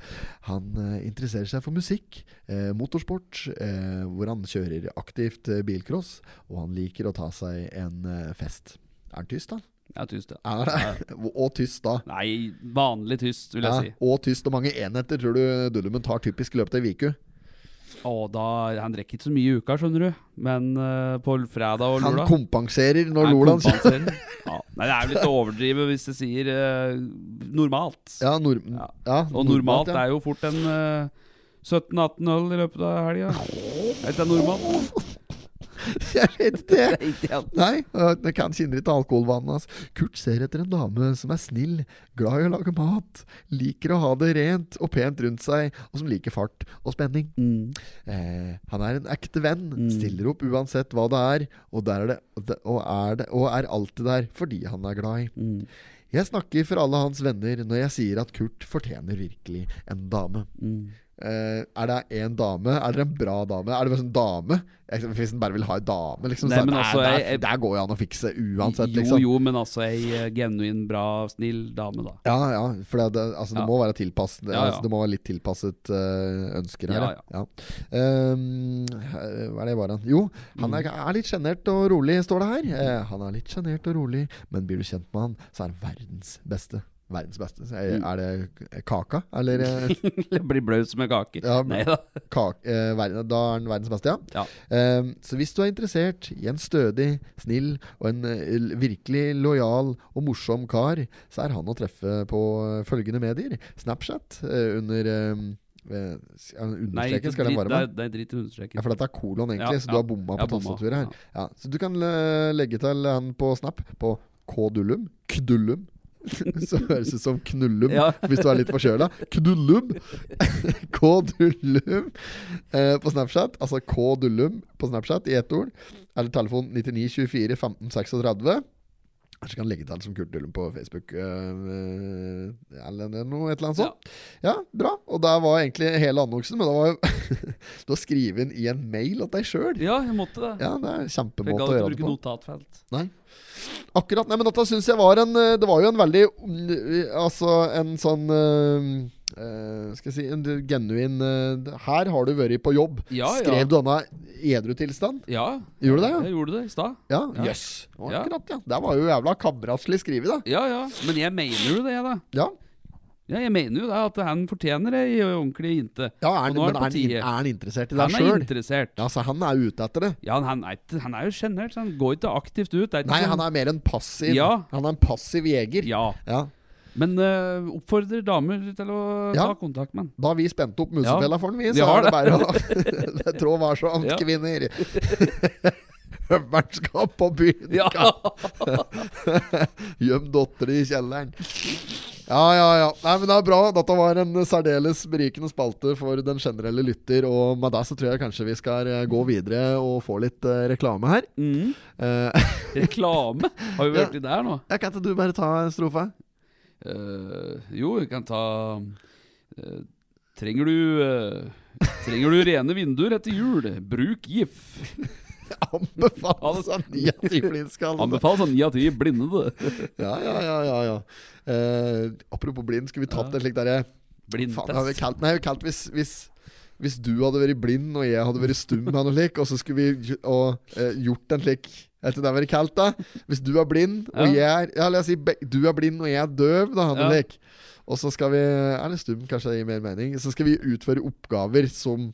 Han eh, interesserer seg for musikk, eh, motorsport, eh, hvor han kjører aktivt eh, bilcross, og han liker å ta seg en eh, fest. Er han tyst, da? Ja, tyst, ja. Er han, [LAUGHS] og tyst, da. Nei, vanlig tyst, vil jeg si. Og tyst. Hvor mange enheter tror du Dullumen tar typisk i løpet av ei uke? Å, da, han drikker ikke så mye i uka, skjønner du. Men eh, på fredag og Han lørdag kompenserer når Nei, Lolan sier kompenserer. ja. Nei, det er jo litt å overdrive hvis jeg sier eh, normalt. ja, nor Ja. ja, Og normalt er jo fort en [LAUGHS] eh, 17-18 øl i løpet av helga. Er ikke det normalt? [LAUGHS] Jeg vet ikke, jeg. Ikke igjen. Nei, øh, det kan kjenner ikke alkoholvanene hans. Kurt ser etter en dame som er snill, glad i å lage mat, liker å ha det rent og pent rundt seg, og som liker fart og spenning. Mm. Eh, han er en ekte venn, Mm. stiller opp uansett hva det er, og, der er det, og det- og, er det, og er alltid der fordi han er glad i. Mm. Jeg snakker for alle hans venner når jeg sier at Kurt fortjener virkelig en dame. Mm. Eh, er det en dame? Er det en bra dame? Er det bare en dame? Jeg- Hvis en bare vil ha en dame, liksom. Nei, så men der, altså, der, jeg- jeg- der går jo an å fikse uansett, Jo, liksom. jo, men altså ei eh, genuin, bra, snill dame, [LAUGHS] da. Ja, ja. For det, det, altså, det Ja. må være tilpasset Ja, ja. Altså, Det må være litt tilpasset eh, ønsker her. Ja, ja. Ehm, eh, hva er det jeg var han? Jo, han er, er litt sjenert og rolig, står det her. Eh, han er litt sjenert og rolig, men blir du kjent med han, så er han verdens beste. Verdens beste. Så Mm. Er, er det kaka, eller? eh, Eller blir blaut som en kake. Ja, [LAUGHS] Nei da. kak, eh, verden, da er han verdens beste, ja. Ja. Ehm, så hvis du er interessert i en stødig, snill og en eh, l- virkelig lojal og morsom kar, så er han å treffe på eh, følgende medier. Snapchat eh, under ehm, eh, s- ja, Nei, Understreken ikke skal den drit, være nei, med. nei, drit i Ja, understreken. for dette er kolon, egentlig, Ja, så ja. du har bomma på Ja, bomma, tastaturet her. ja. Ja. Så du kan eh, legge til han på Snap på kdullum. Kdullum. [LAUGHS] Som høres ut som knullum. Ja. Hvis du er litt forkjøla. Kdullum. [LAUGHS] K-dullum eh, på Snapchat. Altså K-dullum på Snapchat i ett ord. Eller telefon 9924 1536. Kanskje kan legge til som Kurt Dullum på Facebook eh, eller noe, et eller annet sånt. Ja. bra. Og der var egentlig hele annonsen, men det var jo [LAUGHS] Du har skrevet inn i en mail at deg sjøl. Ja, jeg måtte det. Ja, det er en For jeg kjempemåte å gadd ikke gjøre det bruke på. notatfelt. Akkurat, nei, men dette synes jeg var en eh, Det var jo en veldig mm, Altså en sånn eh, eh, Skal jeg si En genuin eh, Her har du vært på jobb Ja, ja. Skrev du denne i edru tilstand? Ja, Gjorde du det? jeg gjorde det i stad. Ja, Ja. jøss Ja. Akkurat, ja Det var jo jævla kameratslig skrivet da Ja, ja. Men jeg mener jo det, jeg, da. Ja, Ja, jeg mener jo det at han fortjener ei ordentlig jente. ja er, han- Og nå men er det på er, han- tide. er han interessert i deg Han er selv? interessert. Ja, så han er ute etter det Ja, han, han, er, ikke- han er jo sjenert, så han går ikke aktivt ut. Det er ikke Nei, sånn- han er mer en passiv Ja. Han er en passiv jeger Ja, Ja. men eh, oppfordrer damer til å Ja. ta kontakt med han. Da har vi spent opp musefella for den, vi. Vi Så har er det bare å [LAUGHS] Trå varsomt, Ja. kvinner. [LAUGHS] Høveren skal på byen. Ja. [LAUGHS] Gjem dattera i kjelleren. Ja, ja, ja. Nei, men det er bra. Dette var en særdeles berikende spalte for den generelle lytter. Og med det så tror jeg kanskje vi skal eh, gå videre og få litt eh, reklame her. [LAUGHS] Mm. Eh, [LAUGHS] Reklame? Har vi vært i der nå? ja, kan ikke du bare ta en strofe? [LAUGHS] Eh, jo, vi kan ta eh, Trenger du eh, Trenger du rene vinduer etter jul? Bruk GIF. Anbefales av ni av ti flinskaller. Anbefales av ni av ti blindede. Ja, ja, ja. ja, ja. Eh, apropos blind, skulle vi tatt en slik eh, derre Faen, det hadde vi Blindtest. kalt, nei, vi kalt hvis, hvis, hvis du hadde vært blind og jeg hadde vært stum, eller noe slik, og så skulle vi gj- og, eh, gjort en slik Vet du det hadde vært kalt, da? Hvis du er blind, og Ja. jeg er Ja, la oss si be- du er blind, og jeg er døv, da, noe Ja. slik. Og så skal vi Eller stum, kanskje det gir mer mening. Så skal vi utføre oppgaver som,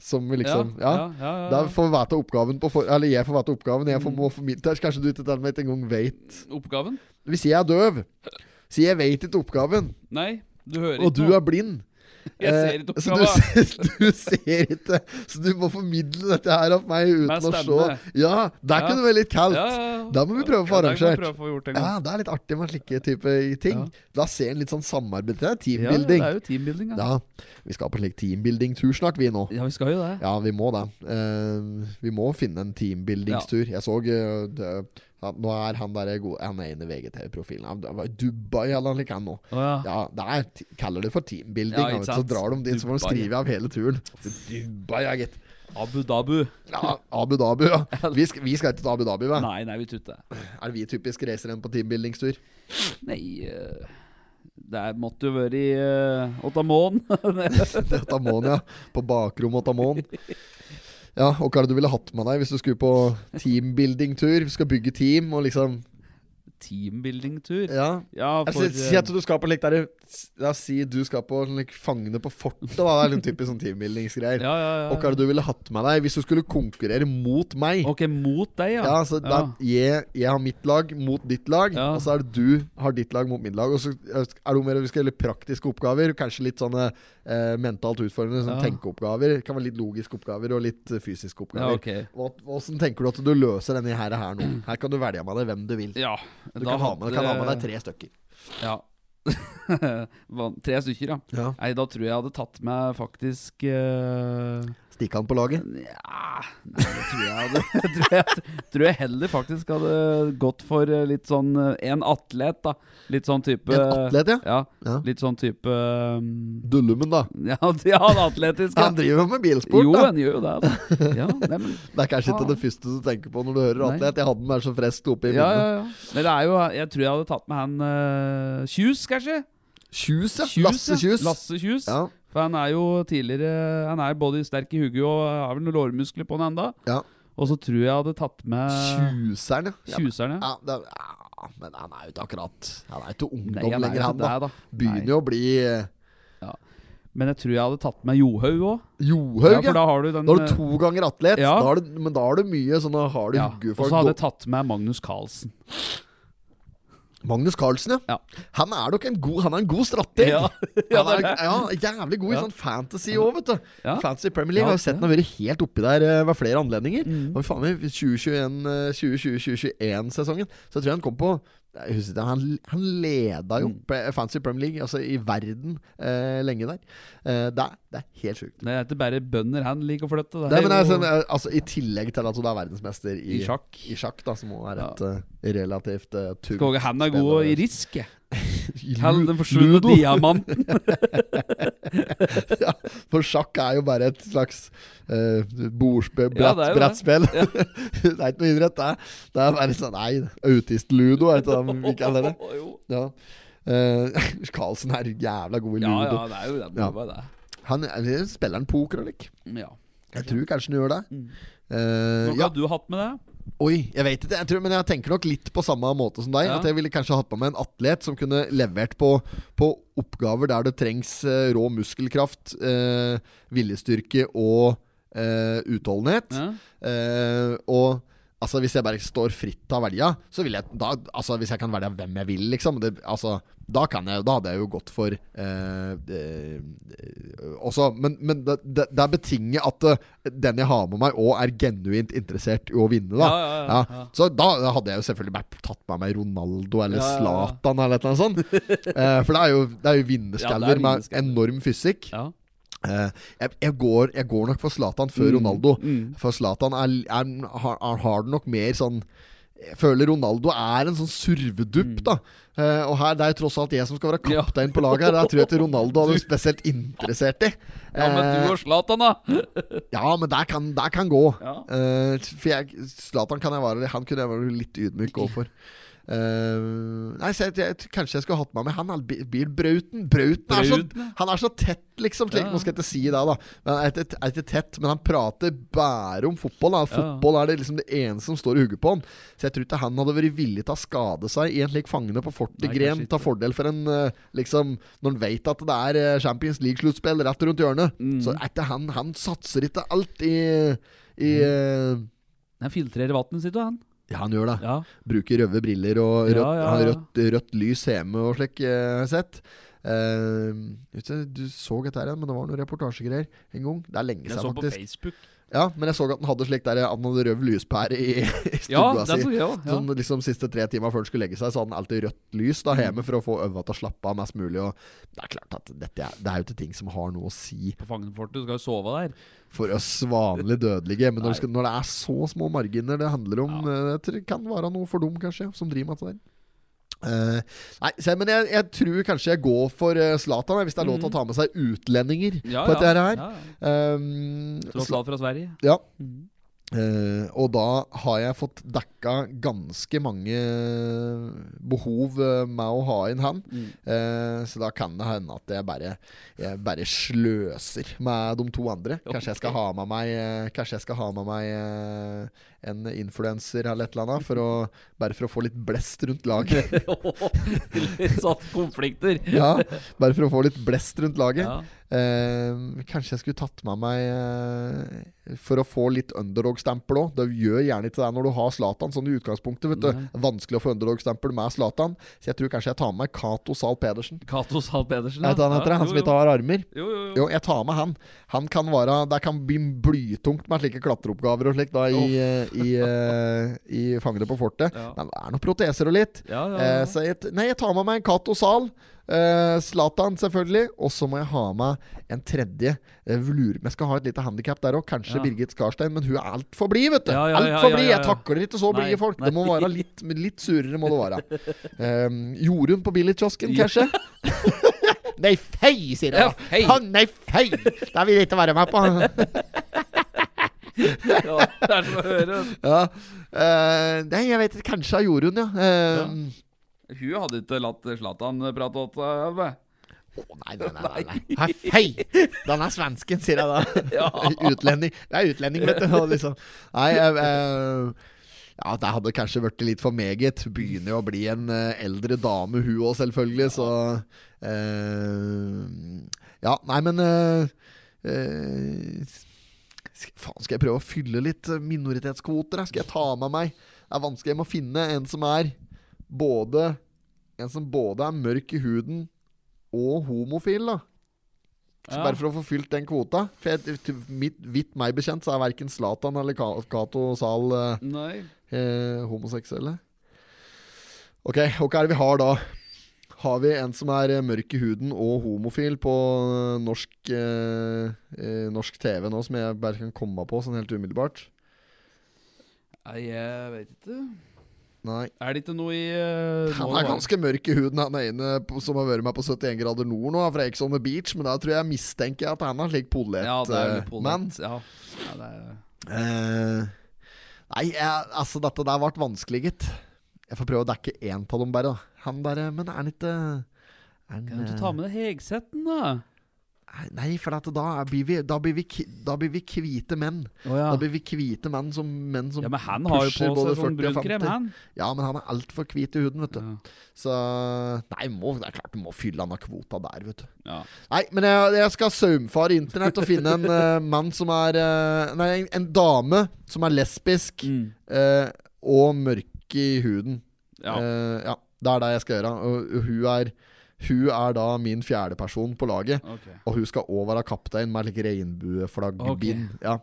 som vi liksom Ja. ja, ja, Mm. ja. Da får vi vite oppgaven på for, Eller jeg får vite oppgaven. Jeg får, må formidle Kanskje du ikke til og med ikke engang vet Oppgaven? Hvis jeg er døv, så jeg vet ikke oppgaven, Nei, du hører og ikke du noe. er blind Jeg ser ikke Eh, oppgaven. Så du, du ser [LAUGHS] ikke Så du må formidle dette her av meg uten Med å se. stemme. Ja, der Ja. kunne det være litt kaldt. Ja, ja, ja. Da må vi prøve å få Ja, da kan vi arrangert. Ah, prøve å få gjort det en gang. Ja, det er litt artig med slike type ting. Da ser en litt sånn samarbeid. Det er Ja, teambuilding. det er jo teambuilding, ja. Ja, vi skal på slik teambuilding-tur snart, vi nå. Ja, vi skal jo det. Ja, vi må det. Eh, vi må finne en teambuildingstur. Jeg så eh, det, han, Nå er han der gode Han er inne i VGTV-profilen. Han var i Dubai eller noe likt, han nå. Å, ja. Ja, det er, t- kaller det for teambuilding. Ja, da, ikke vet du, så sant? drar de dit, så må de Dubai. skrive av hele [LAUGHS] turen. Dubai, ja, gitt. Abu Dabu. Ja, Abu Dhabi, ja. Vi skal, vi skal ikke til Abu Dhabi, hva? Nei, nei, vi tutter. Er det vi typisk reiser igjen på teambuildingstur? Nei eh, Det er- måtte jo være i uh, Otamon. Otamon, ja. På bakrommet Otamon. Ja, og hva er det du ville hatt med deg hvis du skulle på teambuildingtur? Vi Skal bygge team og liksom teambuilding-tur. Ja. Ja, Jeg for eh, Si, si at du skal på like, der, La oss si du skal på like, Fangene på fortet. Da. Det er litt typisk sånn eh, teambuildingsgreier. ja, ja, ja. Og hva er det du ville hatt med deg hvis du skulle konkurrere mot meg? Ok, mot deg, ja. Ja, så da, jeg, jeg har mitt lag mot ditt lag, Ja. og så er det du har ditt lag mot mitt lag. Og så er det jo mer vi skal gjøre litt praktiske oppgaver, kanskje litt sånne eh, mentalt utfordrende sånn Ja. tenkeoppgaver. Det Kan være litt logiske oppgaver og litt eh, fysiske ja, oppgaver. ok. Hva- Hvordan tenker du at du løser denne her, her nå? Her kan du velge med deg hvem du vil. Ja, Du kan ha, med, kan ha med deg tre stykker. Ja. [LAUGHS] Van- tre stykker, ja. Ja. Nei, da tror jeg jeg hadde tatt meg faktisk eh, Stikk han på laget. Nja Nei, det tror jeg hadde [LAUGHS] jeg tror, jeg, tror jeg heller faktisk hadde gått for eh, litt sånn eh, En atlet, da. Litt sånn type En atlet, ja. Ja, ja. litt sånn type um, Dullumen, da. [LAUGHS] ja, ja, en atletisk. Ja. Han driver med bilsport, Jo, da. en gjør jo det. Da. [LAUGHS] Ja, nei, men, Det er kanskje ikke det første du tenker på når du hører Nei. atlet. Jeg hadde den der så freskt oppe i ja, ja, minnet. ja. Men det er jo Jeg tror jeg hadde tatt med han eh, Kjus, kanskje? Kjus, ja. Kjus, Lasse ja. Kjus. Lasse Kjus. Ja. For han er jo tidligere Han er både sterk i hugget og har vel noen lårmuskler på han enda. Ja. Og så tror jeg jeg hadde tatt med Kjuseren, ja. Kjuseren, ja. ja det, er- ja, men han er jo ikke akkurat Han er jo ikke ungdom Nei, han er lenger, jo han, ikke da. der, da. Begynner Nei. jo å bli eh, Men jeg tror jeg hadde tatt med Johaug òg. Ja, Johaug, ja. for da har du den Da har du to ganger atlet. Ja. Da har du, men da har du mye sånn da har du eh, ja. Og huggefolk. så hadde jeg tatt med Magnus Carlsen. Magnus Carlsen, ja. Ja. Han er nok en god Han er en god strateg. Ja, [LAUGHS] ja, han er, det er det. ja, jævlig god i Ja. sånn fantasy òg, vet du. Ja. Fantasy Premier League. Ja, har jo sett det. han har vært helt oppi der eh, ved flere anledninger. Og faen meg, 2021-2021-sesongen, så tror jeg han kom på jeg husker ikke, han, han leda jo Pre- Fantasy Premier League, altså i verden, eh, lenge der. Eh, det, er, det er helt sjukt. Det er ikke bare bønder han liker å flytte. Det Det, er men det er jo- sånn, eh, altså, I tillegg til at du er verdensmester i, I sjakk. i sjakk, da, som også er Ja. et eh, relativt uh, tungt Skåge, han er god i risk, jeg. spiller. Han den forsvunne Ludo. diamanten. ja, for sjakk er jo bare et slags uh, bordsspill, Ja, brett, det er jo det. brettspill. [LAUGHS] det er ikke noe idrett, det. er- Det er bare sånn Nei, autist-ludo, er ikke det [LAUGHS] vi kaller det? Å, jo. Ja. Eh, [LAUGHS] Carlsen er jævla god i ludo. Ja, ja, det er jo det. Ja. Det var det. Han er- spiller han poker og lik. Ja. Mm. Jeg tror kanskje han gjør det. Hva Eh, ja, hadde du hatt med det? oi, jeg vet ikke, jeg tror, men jeg tenker nok litt på samme måte som deg. Ja. At jeg ville kanskje hatt på meg en atlet som kunne levert på, på oppgaver der det trengs eh, rå muskelkraft, eh, viljestyrke og eh, utholdenhet. Ja. Eh, og altså, hvis jeg bare står fritt til å velge, så vil jeg da, altså, Hvis jeg kan velge hvem jeg vil, liksom det, altså, da, kan jeg, da hadde jeg jo gått for eh, eh, også, Men, men det, det, det er betinget at eh, den jeg har med meg, òg er genuint interessert i å vinne, da. Ja, ja, ja, ja. Så da hadde jeg jo selvfølgelig bare tatt med meg Ronaldo eller Ja, ja, ja. Zlatan eller et eller annet [LAUGHS] sånt. Eh, for det er jo, det er jo Ja, det vinnerskaller er med vinnerskaller. enorm fysikk. Ja. Eh, jeg, jeg, går, jeg går nok for Zlatan før Mm, Ronaldo. For Zlatan er, er, har, har- har det nok mer sånn Jeg føler Ronaldo er en sånn survedupp, da. Eh, og her, det er jo tross alt jeg som skal være Mm. Ja. kaptein på laget. her Der tror jeg ikke Ronaldo [LAUGHS] hadde spesielt interessert i. ja, men du og Zlatan, da? Eh, ja, men der kan, der kan gå. Ja. Eh, for jeg, Zlatan kan jeg være Han kunne jeg være litt ydmyk overfor. Eh, nei, så jeg, jeg, kanskje jeg skulle hatt meg med han. eller Bi- Bil Brauten. Brauten er så, Brauten, ja. han er så tett, liksom. Slik, Ja. Nå skal jeg ikke si det, da. Men han er ikke, er ikke tett, men han prater bare om fotball. Da. Fotball er det liksom det eneste som står i hugget på han. Så jeg tror ikke han hadde vært villig til å skade seg i en slik Fangene på Nei, fortet-gren. kanskje ikke. Ta fordel for en eh, liksom Når han vet at det er eh, Champions League-sluttspill rett rundt hjørnet, Mm. så er ikke han Han satser ikke alt i, i Mm. eh, Han filtrerer vannet sitt, han. ja, han gjør det. Ja. Bruker røde briller og rødt, Ja, ja, har ja. rødt, rødt lys hjemme og slik, eh, har jeg sett. Eh, vet du, du så dette her igjen, men det var noen reportasjegreier en gang. Det er lenge Jeg siden, så på faktisk. Facebook. Ja, Men jeg så at han hadde slik der, at han hadde rød lyspære i, [LAUGHS] i Ja, stua det er si. så gøy, ja. Mm. Sånn liksom siste tre timer før han skulle legge seg, så hadde han alltid rødt lys da hjemme for å få øynene til å slappe av mest mulig. Og det er klart at dette er, det er jo ikke ting som har noe å si På Fangenfortet, du skal jo sove der. for oss vanlig dødelige. Men når, Nei. du skal, når det er så små marginer det handler om, eh, jeg tror det kan være noe for dem, kanskje, som driver med dette der. Eh, nei, se, men jeg, jeg tror kanskje jeg går for eh, Zlatan, hvis det er lov til å ta med seg utlendinger Mm. Ja, på dette ja. her. Ja, ja. Um, Tross alt fra Sverige. ja. Eh, og da har jeg fått dekka ganske mange behov eh, med å ha inn han. [LAUGHS] Eh, så da kan det hende at jeg bare, jeg bare sløser med de to andre. Kanskje jeg skal ha med meg, eh, kanskje jeg skal ha med meg eh, en influenser eller et eller annet, for å, bare for å få litt blest rundt laget. [LAUGHS] Litt sånn konflikter. ja, bare for å få litt blest rundt laget. Ja. Eh, kanskje jeg skulle tatt med meg eh, For å få litt underdog-stempel òg. Det gjør gjerne ikke det når du har Zlatan sånn i utgangspunktet. Vet du. Nei. Vanskelig å få underdog-stempel med Zlatan. Så jeg tror kanskje jeg tar med meg Cato Zahl Pedersen. Cato Zahl Pedersen, Vet du hva han heter? Han som ikke har armer. Jo, jo, jo. Jo, jeg tar med han. Han kan være Det kan bli blytungt med slike klatreoppgaver og slikt da i, eh, i, eh, i Fangene på fortet. Ja. Men det er noen proteser og litt. Ja, ja, Eh, ja. så jeg, t- nei, jeg tar med meg en Cato Zahl. eh, Zlatan, selvfølgelig. Og så må jeg ha med en tredje. Eh, lurer men Jeg skal ha et lite handikap der òg. Kanskje Ja. Birgit Skarstein, men hun er altfor blid, vet du. Ja, ja, ja, altfor ja, blid. ja, Jeg ja. takler ikke så Nei, blide folk. Det må nei. være litt, litt surere, må det være. [LAUGHS] Um, Jorunn på billigkiosken, kanskje? nei, fei, sier Ja, jeg. fei. da. Han, nei, fei! Det vil jeg ikke være med på. [LAUGHS] Ja, det er som å høre. ja. Eh, nei, jeg vet ikke. Kanskje av Jorunn, ja. Um, Hun hadde ikke latt Zlatan prate åt seg. vet du. Å, Nei, nei, nei. nei, nei. Hei, Hei! Den er svensken, sier jeg da. utlending. Det er utlending, vet du. og Liksom. Nei, jeg, eh, ja, det hadde kanskje blitt litt for meget. Begynner jo å bli en eh, eldre dame, hun òg, selvfølgelig, så eh, Ja, nei, men eh, eh, sk- Faen, skal jeg prøve å fylle litt eh, minoritetskvoter? da? Skal jeg ta med meg Det er vanskelig. Jeg må finne en som er både En som både er mørk i huden og homofil, da. Så Ja. Bare for å få fylt den kvota. For jeg, til mitt, vidt meg bekjent så er verken Zlatan eller Ka- Cato Zahl eh, Nei. eh, homoseksuelle. Ok, og hva er det vi har da? Har vi en som er eh, mørk i huden og homofil på eh, norsk, eh, eh, norsk TV nå, som jeg bare kan komme på sånn helt umiddelbart? Nei, jeg vet ikke. Nei. Er det ikke noe i eh, Han nå er var- ganske mørk i huden, han ene på- som har vært med på 71 grader nord nå, fra Ex on the sånn Beach, men da tror jeg mistenker jeg at han har slik polett. Ja, det er eh, litt polert. Men ja. ja, det er eh, Nei, jeg, altså, dette der ble vanskelig, gitt. Jeg får prøve å dekke én av dem, bare. da. Han der, eh, Men er han ikke er han, Kan du eh, ta med deg Hegsetten, da? Nei, for at da, er, blir vi, da, blir vi, ki- da blir vi hvite menn. Å ja. Da blir vi hvite menn som, menn som sånn ja, men han har jo pusher på både seg sånn 40 og brunkrem, 50. han. Ja, men han er altfor hvit i huden, vet du. Ja. Så Nei, må, det er klart du må fylle han av kvota der, vet du. Ja. Nei, men jeg, jeg skal saumfare internett og finne en eh, mann som er eh, Nei, en, en dame som er lesbisk Mm, eh, og mørk i huden. Ja. Eh, ja. Det er det jeg skal gjøre. Og, og hun, er, hun er da min fjerdeperson på laget. Ok. Og hun skal òg være kaptein med like regnbueflaggbind. Ja.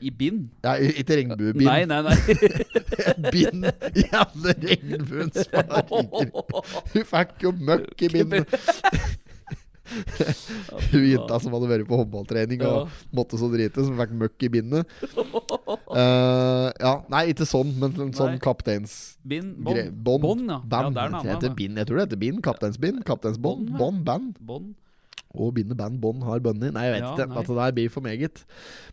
I bind? ja, i- ikke Nei, regnbuebind. nei, [LAUGHS] nei. Bind i alle regnbuens farger. Hun fikk jo møkk i bindet. Hun jenta som hadde vært på håndballtrening og måtte så drite, som fikk møkk i bindet. Eh, ja, nei, ikke sånn, men en sånn Nei. kapteins... Bind, gre- bånd. Bånd. Bånd, ja. Band. Ja, det er en Det heter annen. ja. bind. Jeg tror det heter bind. Kapteinsbind. Kapteinsbånd. Bånd, ja. Bånd. Band. Bånd. Og binde band. Bånd har bunny. Nei, jeg vet Ja, ikke. nei. At det der blir for meget.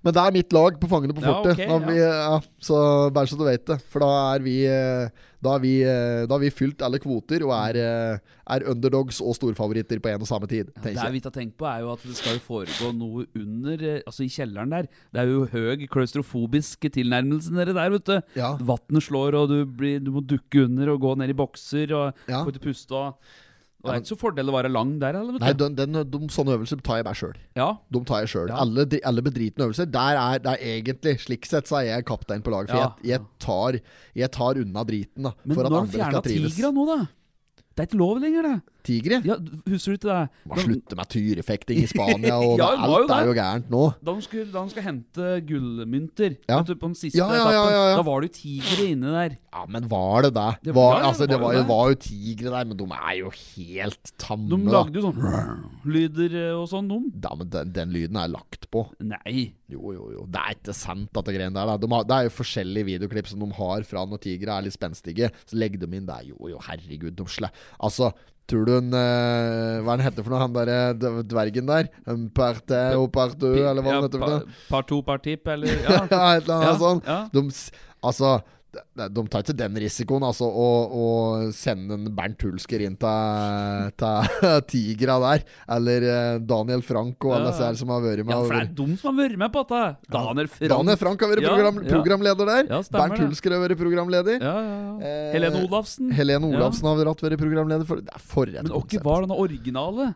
Men det er mitt lag på Fangene på Ja, fortet. ok, Da vi, ja, så bare så du vet det. For da er vi eh, Da har vi, eh, da har vi fylt alle kvoter og er, eh, er underdogs og storfavoritter på en og samme tid. Det tenker vi jeg. ikke har tenkt på, er jo at det skal jo foregå noe under eh, Altså i kjelleren der. Det er jo høy klaustrofobisk tilnærmelse nede der, vet du. Ja. Vannet slår, og du, blir, du må dukke under og gå ned i bokser og Ja. få ikke puste og Og Ja, det er men- ikke så fordel å være lang der heller, Nei, vet du. den, den, de, sånne øvelser tar jeg bare sjøl. Ja. De tar jeg sjøl. Ja. Alle, de- alle bedritne øvelser. Der er, der egentlig Slik sett så er jeg kaptein på laget. For Ja. jeg, jeg, tar, jeg tar unna driten, da. Men for nå at har andre de fjerna skal trives. tigra nå, da. Det er ikke lov lenger, det. Tigre? Ja, d- Husker du ikke det? Man slutter med tyrefekting i [LAUGHS] Spania, og Ja, det- det var jo alt er det. jo gærent nå. Da de skulle, da de skulle hente gullmynter Ja. vet du, på den siste Ja, ja, ja, etappen, ja, ja. da var det jo tigre inne der. Ja, men var det det? Det var, var- ja, altså, det var, var jo- det. var jo tigre der, men de er jo helt tamme. De da. lagde jo sånn lyder eh, og sånn, de. Ja, men den, den lyden er lagt på. Nei. Jo, jo, jo. Det er ikke sant, dette greiene der. Da. De har, det er jo forskjellige videoklipp som de har fra når tigre er litt spenstige. Så legg dem inn der. Jo, jo, herregud. De slår Altså, Tror du hun eh, Hva er han heter for noe, han derre dvergen der? En parte og partu, eller hva han heter for noe? Par to, par tipp, eller [LAUGHS] Ja, ja. et eller annet ja, sånn. ja. De, s- altså de, de tar ikke den risikoen, altså, å, å sende en Bernt Hulsker inn til til [LAUGHS] Tigra der. Eller eh, Daniel Frank og alle Ja. disse her som har vært med. ja, for det er over- de som har vært med på dette! Daniel Frank. Daniel Frank har vært Ja, program, ja. programleder der. Ja, stemmer Bernt det. Hulsker har vært programleder. Ja, ja, ja. Eh, Helene Olafsen. Helene Ja. Olafsen har hatt vært programleder for Det er for et Men åkke konsept. var denne originale?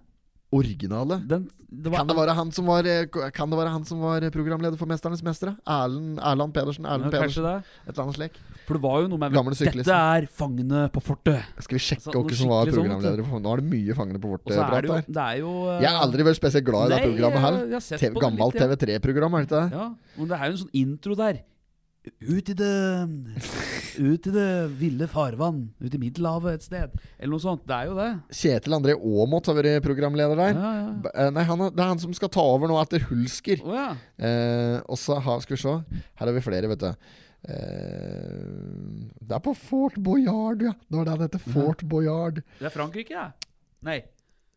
Originale. Den, det var, Kan det, være han som var, eh, ko- kan det være han som var eh, programleder for 'Mesternes mestere'? Erlend, Erland Pedersen? Ja, Erlend kanskje Pedersen det? Et eller annet slik. For det var jo noe med Gamle syklisten. Dette er fangene på fortet! Skal vi sjekke Altså, noe hvem som var skikkelig sånn, vet programleder? for Nå er det mye fangene på vårt Og så eh, er det prat jo, her. det er jo eh, Jeg har aldri vært spesielt glad i nei, dette programmet her. jeg- jeg har sett TV, på det gammalt litt, ja. TV3-program, er det ikke det? Ja, men det er jo en sånn intro der. Ut i [LAUGHS] det Ut i det ville farvann. Ut i Middelhavet et sted. Eller noe sånt. Det er jo det. Kjetil André Aamodt har vært programleder der. Ja, ja. B- eh, Nei, han, er- Det er han som skal ta over nå etter Hulsker. Å ja. Eh, og så har Skal vi se. Her har vi flere, vet du. Eh, det er på Fort Boyard, ja. Det var det det heter. Fort Boyard. Det er Frankrike, det. Nei,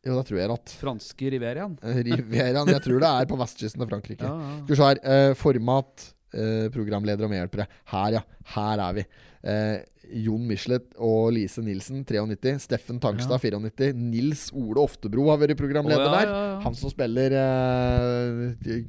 Jo, det tror jeg at. eh, franske Riverian. [LAUGHS] Riveraen. Jeg tror det er på vestkysten av Frankrike. Ja, ja. Skal vi se her. eh, format, eh, programledere og medhjelpere. Her, ja. Her er vi. Eh, Jon Michelet og Lise Nilsen, 93. Steffen Tangstad, 94. Nils Ole Oftebro har vært programleder Å, ja, der. ja, ja. Han som spiller uh,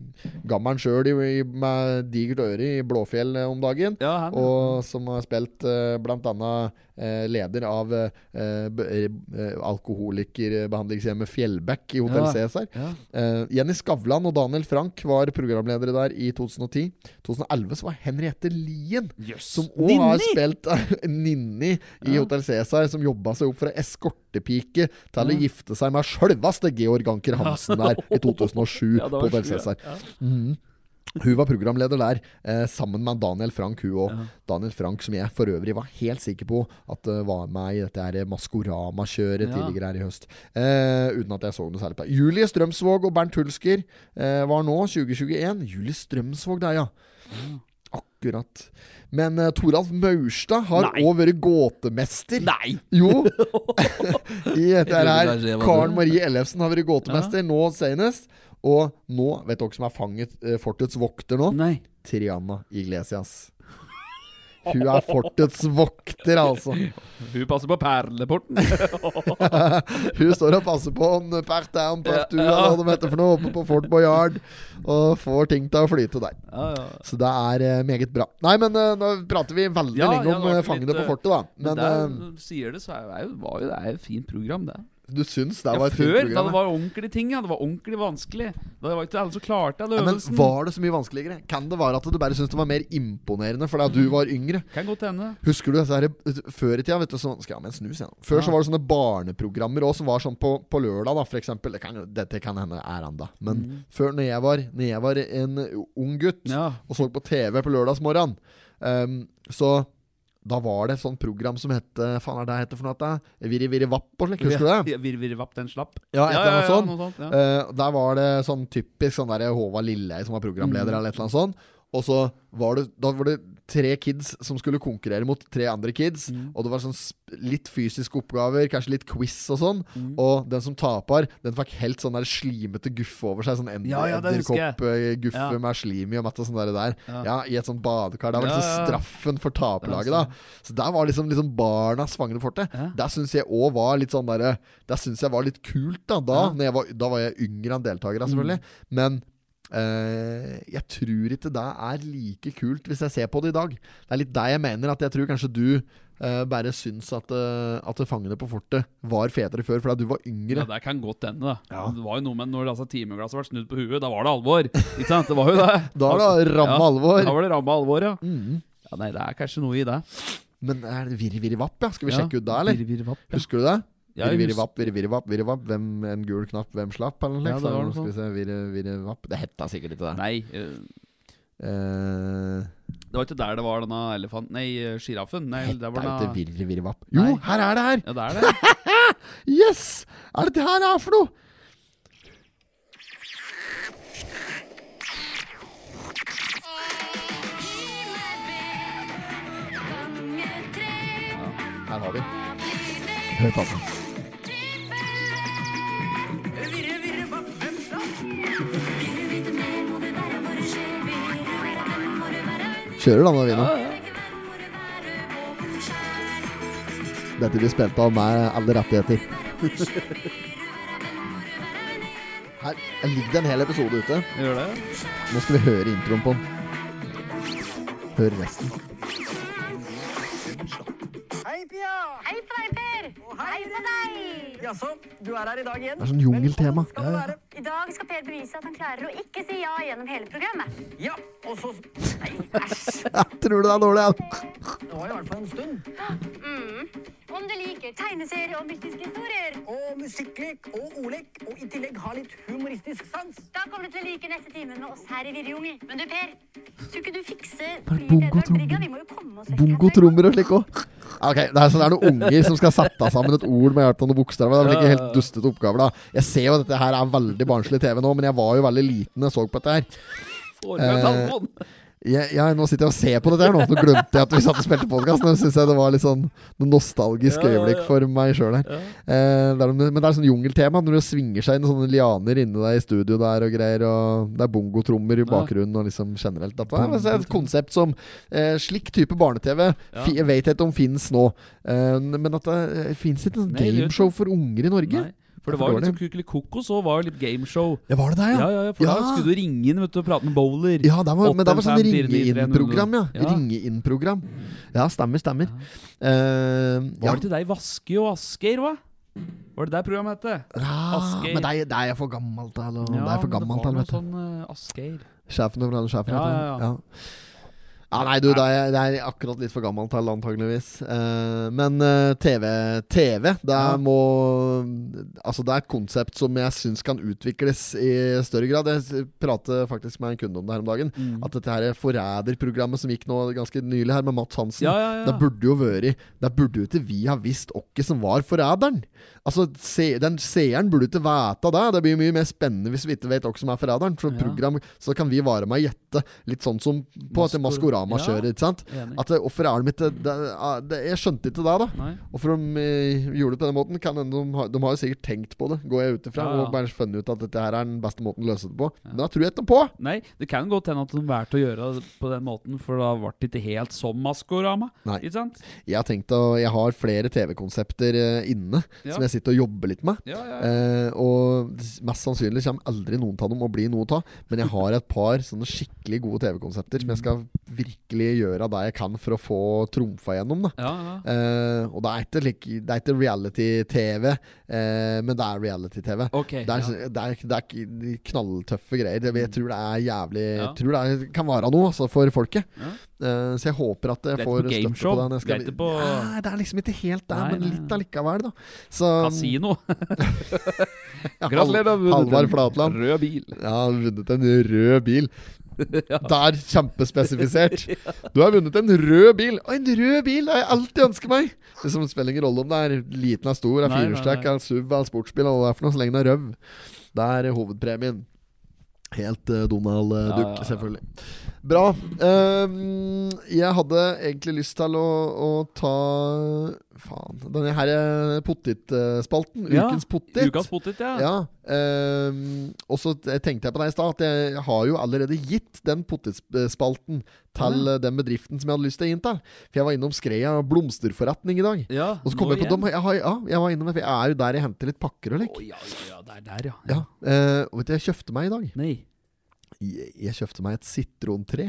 gammelen sjøl med digert øre i Blåfjell eh, om dagen. Ja, han. Og som har spilt eh, blant annet eh, leder av eh, b- eh, alkoholikerbehandlingshjemmet Fjellbekk i Hotell Ja. Cæsar. ja. Eh, Jenny Skavlan og Daniel Frank var programledere der i 2010. 2011 så var Henriette Lien, Yes. som òg har Ninni! spilt [LAUGHS] Ninni i Ja. Hotell Cæsar, som jobba seg opp fra eskortepike til å Ja. gifte seg med sjølveste Georg Anker Hansen der i 2007 Ja, det var på Hotell sju, ja. Cæsar. Mhm. Hun var programleder der, eh, sammen med Daniel Frank. Hun også. Daniel Frank, som jeg for øvrig var helt sikker på at eh, var med i dette her Maskorama-kjøret Ja. tidligere her i høst. Eh, uten at jeg så noe særlig på det. Julie Strømsvåg og Bernt Hulsker eh, var nå 2021. Julie Strømsvåg der, ja. Akkurat. Men eh, Toralf Maurstad har Nei. òg vært gåtemester. Nei! [LAUGHS] Jo! [LAUGHS] I dette trodde her. kanskje det var Karen du. Marie Ellefsen har vært gåtemester nå senest. Og nå, vet dere som er fanget eh, fortets vokter nå? Nei. Triana Iglesias. Hun er fortets vokter, altså. Hun passer på perleporten. Hun står og passer på en part down, part two, eller hva de heter for noe, oppe på Fort Boyard. Og får ting til å flyte der. Ja, ja. Så det er eh, meget bra. Nei, men eh, nå prater vi veldig Ja, lenge ja, om det var eh, ikke fangene litt, på eh, fortet, da. Men [LAUGHS] Men der, sier det, så er jo, var jo det er et fint program, det. eh, du syns det Ja, var et før, fint da program? det var ordentlige ting. Ja. Det var ordentlig vanskelig. Da var ikke alle som klarte all Ja, men øvelsen. var det så mye vanskeligere? Kan det være at du bare syns det var mer imponerende fordi at du var yngre? Kan godt hende. Husker du disse her, eh, Før i tida vet du, så, Skal jeg ha med en snus igjen? Før så Ja. var det sånne barneprogrammer også, som var sånn på, på lørdag, da, for eksempel. Det kan, jo- dette kan hende er enda. Men Mm. før, når jeg, var, når jeg var en ung gutt Ja. og så på TV på lørdagsmorgenen, ehm, så da var det et sånt program som het eh, Faen, er det det heter for noe? dette? Virri Virri Vapp og slik, husker du det? Ja, Virvirvapp, den slapp. Ja, et eller annet sånt. noe sånt, ja. Eh, der var det sånn typisk sånn der Håvard Lilleheie som var programleder, Mm. eller et eller annet sånt. Og så var det, da var det tre kids som skulle konkurrere mot tre andre kids. Mm. Og det var sånn sp- litt fysiske oppgaver, kanskje litt quiz og sånn. Mm. Og den som taper, den fikk helt sånn der slimete guffe over seg. Sånn ender, Ja, ja, det husker jeg. edderkoppguffe Ja. med slim i og matt og sånn der. der. Ja. Ja. I et sånt badekar. Det var Ja, liksom ja. straffen for taperlaget, da. Så der var liksom, liksom barnas fangende forte. Ja. Der syns jeg òg var litt sånn derre Der syns jeg var litt kult, da. Da, Ja. Mm. når jeg var, da var jeg yngre enn deltakerne, selvfølgelig. Men eh, jeg tror ikke det er like kult hvis jeg ser på det i dag. Det er litt det jeg mener, at jeg tror kanskje du eh, bare syns at, eh, at Fangene på fortet var fetere før, fordi du var Ja, yngre. det kan godt hende, da. Ja. Det var jo noe med når altså, timeglasset ble snudd på huet, da var det alvor. Ikke sant? Det var jo det. [LAUGHS] Da er det ramme Ja, alvor. Da var det ramme alvor, ja. Mm. ja. Nei, det er kanskje noe i det. Men er det Virri Virri Vapp, ja? Skal vi Ja. sjekke ut det, eller? Virvirvapp, ja. Husker du det? Ja, Virre, jeg virre, husker- vapp, virre, virre, vapp, virre, vapp. Hvem en gul knapp, hvem slapp? Eller noe Ja, slikt. det Så var nå noe skal vi se, virre, virre, vapp. Det hetta sikkert ikke det. Nei, eh, Eh, det var ikke der det var denne elefanten Nei, eh, sjiraffen. Nei, hetta det er var jo ikke denne virre, virre, vapp. Jo, Nei. her er det her! Ja, det er det. Yes! Er det det her er for noe? Ganger tre Her har vi. Hør på den. Kjører denne vina. Ja, ja. Dette blir spilt av meg alle rettigheter. Her ligger det en hel episode ute. Gjør det? Nå skal vi høre introen på den. Hør resten. Hei, Pia! Hei på deg, Per! Og Hei på deg! Jaså, du er her i dag igjen? Det er sånn jungeltema. Velkommen skal du være. I dag skal Per bevise at han klarer å ikke si ja gjennom hele programmet. Ja, og så Nei, æsj. Jeg tror det er dårlig. ja. Det var i hvert fall en stund. Mm. Om du liker tegneserier og mystiske historier, Og musikklek og ordlek, og i tillegg ha litt humoristisk sans. da kommer du til å like neste time med oss her i Virrejunger. Men du, Per, tror ikke du fikser Bare altså. flyet til Edvard bongotrommer. Brygga? Vi må jo komme oss vekk herfra. Bongotrommer og slik òg. Ok, det er, så det er noen unger som skal sette sammen et ord med hjelp av noen bokstaver. Det er vel ikke helt dustete oppgaver da Jeg ser jo at dette her er veldig barnslig TV nå, men jeg var jo veldig liten da jeg så på dette her. Får med Eh, telefonen. Jeg, jeg, nå sitter jeg og ser på dette her nå. Nå glemte jeg at vi satt og spilte podkast. Nå syns jeg det var litt sånn noe nostalgisk Ja, ja, ja. øyeblikk for meg sjøl her. Eh, det er, men det er sånn jungeltema når det svinger seg inn sånne lianer inne der i studio der og greier. Og det er bongotrommer i bakgrunnen og liksom generelt. Dette er altså et konsept som eh, Slik type barne-TV Ja. fi- jeg vet jeg ikke om fins nå. Eh, men at det fins ikke noe Nei, det gjør gameshow for unger i Norge. Nei, for Jeg det var jo forstår litt sånn Kukeli Kokos og var jo litt gameshow. Ja, var det der, Ja, ja, ja, for Ja. da skulle du ringe inn vet du, og prate med bowler. Ja, det var, men det var sånn 855 ringe-inn-program, ja. Ja. Ringe-inn-program. Ja, stemmer, stemmer. Eh, ja. Var det til deg Vaske og Asgeir, hva? Var det der programmet het? Ah, Asgeir? men det er, det er jeg for gammel til, eller? det er jeg for gammel til, vet du. Sånn, eh, Asgeir. Sjefen over alle sjefer, Ja, heter ja, han. Ja. Ja, nei, du, det er, det er akkurat litt for gammel til, antageligvis. Eh, men eh, TV, TV det Ja. må Altså, det er et konsept som jeg syns kan utvikles i større grad. Jeg s- prater faktisk med en kunde om det her om dagen. Mm. At dette her Forræder-programmet som gikk nå ganske nylig her, med Mats Hansen Ja, ja, ja. Det burde jo vært Det burde jo ikke vi ha visst hvem som var forræderen. Altså, se, den seeren burde ikke vite det. Det blir mye mer spennende hvis vi ikke vet hvem som er forræderen. Så, Ja. program, så kan vi være med og gjette, litt sånn som på dette Maskor- Maskorama-kjøret. ikke sant? Enig. At eh, hvorfor er de ikke det, eh, ah, det, Jeg skjønte ikke det, da. Nei. Hvorfor de eh, gjorde det på den måten? Kan hende de, har- de har jo sikkert tenkt på det, går jeg ut ifra. Ja, ja. Og bare funnet ut at dette her er den beste måten å løse det på. Men da tror jeg ikke på! Nei, det kan godt hende at de valgte å gjøre det på den måten, for da ble det ikke helt som Maskorama. Nei. Ikke sant? Jeg har tenkt å, jeg har flere TV-konsepter eh, inne Ja. som jeg sitter og jobber litt med. Ja, ja, ja. Eh, og s- mest sannsynlig kommer aldri noen av dem å bli noe av. Men jeg har et par sånne skikkelig gode TV-konsepter som jeg skal virkelig gjøre det jeg kan for å få trumfa gjennom. Da. ja, ja. Eh, og det er ikke, like- det er ikke reality-TV, eh, men det er reality-TV. Ok. Det er, ja. Mm. så- det, er, det er k- knalltøffe greier. Det- Jeg tror det er jævlig Ja. Jeg tror det er, kan være noe altså, for folket. Ja. Eh, så jeg håper at jeg Det er får ikke på støtte gameshow. på den. Jeg skal- Det er ikke på- Nei, det er liksom ikke helt der, Nei, men nei, litt nei. allikevel, da. Så, Kasino. Ja, Gratulerer, du har vunnet Halvard en Flatland. Rød bil. Ja, han har vunnet en rød [LAUGHS] bil. Der, kjempespesifisert. Du har vunnet en rød bil! Og en rød bil har jeg alltid ønsket meg! Det som spiller ingen rolle om det er liten eller stor, er Nei, nei, firehjulstrekk, nei. er SUV, er sportsbil, eller hva det er for noe, så lenge den er røv. Det er eh, hovedpremien. Helt eh, Donald eh, Ja, Duck, ja, ja. selvfølgelig. Bra. Ehm, jeg hadde egentlig lyst til å, å ta Faen. Denne her eh, potetspalten. Ja, Ukens potet. Ukas potet, ja. Ja. ehm, og så t- tenkte jeg på deg i stad, at jeg har jo allerede gitt den potetspalten til eh, den bedriften som jeg hadde lyst til å gi den til. For jeg var innom Skreia blomsterforretning i dag. Ja, Og så kom nå jeg på dem, jeg, har, ja, jeg var innom, for jeg er jo der jeg henter litt pakker og Å lik. ja, ja, ja, det er der, ja. Ja, eh, og vet du, jeg kjøpte meg i dag. Nei. [LAUGHS] Jeg, jeg kjøpte meg et sitrontre.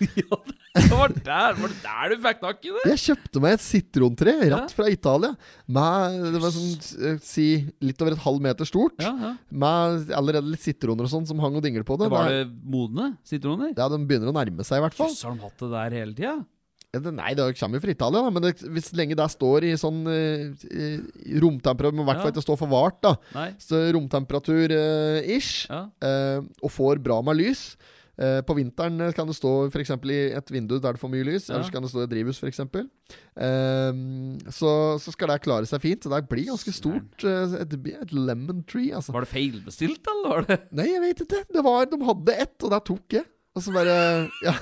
ja, det var der, var det der du fikk tak i det? Jeg kjøpte meg et sitrontre Ja. rett fra Italia. Med, det var sånn, eh, si, litt over et halv meter stort. Ja, ja. Med allerede litt sitroner og sånn som hang og dingle på det. Var Det det modne sitroner? er- Ja, de begynner å nærme seg i hvert fall. Jøss, har de hatt det der hele tida? Ja, det- Nei, det kommer jo fra Italia, da, men det, hvis lenge det står i sånn eh, i romtemperatur, men i hvert fall Ja. ikke står for vart, da, Nei. så romtemperatur-ish, Ja. eh, og får bra med lys eh, På vinteren eh, kan det stå f.eks. i et vindu der det får mye lys, Ja. eller så kan det stå i et drivhus f.eks. Um, så, så skal det klare seg fint. Så det blir ganske stort. eh, et, et lemon tree, altså. Var det feilbestilt, eller var det Nei, jeg vet ikke. Det var, de hadde ett, og der tok jeg. Og så bare [LAUGHS] ja.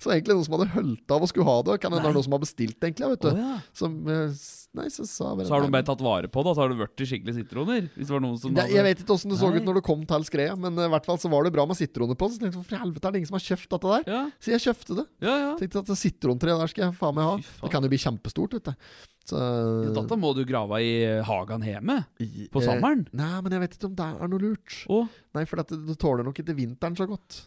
Så egentlig noen som hadde hølt av og skulle ha det. Kan hende det er noen som har bestilt, det egentlig. Vet du. Å, ja. Som eh, s- Nei, så sa bare Så har de nei, bare tatt vare på det, og så har det vært til skikkelige sitroner. Hvis det var noen som det, jeg vet ikke åssen det så Nei. ut når det kom til skredet, men eh, i hvert fall så var det bra med sitroner på. den, Så tenkte jeg hvorfor i helvete er det ingen som har kjøpt dette der? Ja, Så jeg kjøpte det. ja. ja. Tenkte at det sitrontreet der skal jeg faen meg ha. Fy faen. Det kan jo bli kjempestort, vet du. Så Ja, Dette må du grave i eh, hagen hjemme. i- På eh, sommeren? Nei, men jeg vet ikke om det er noe lurt. Å, Nei, for dette, det tåler nok ikke vinteren så godt.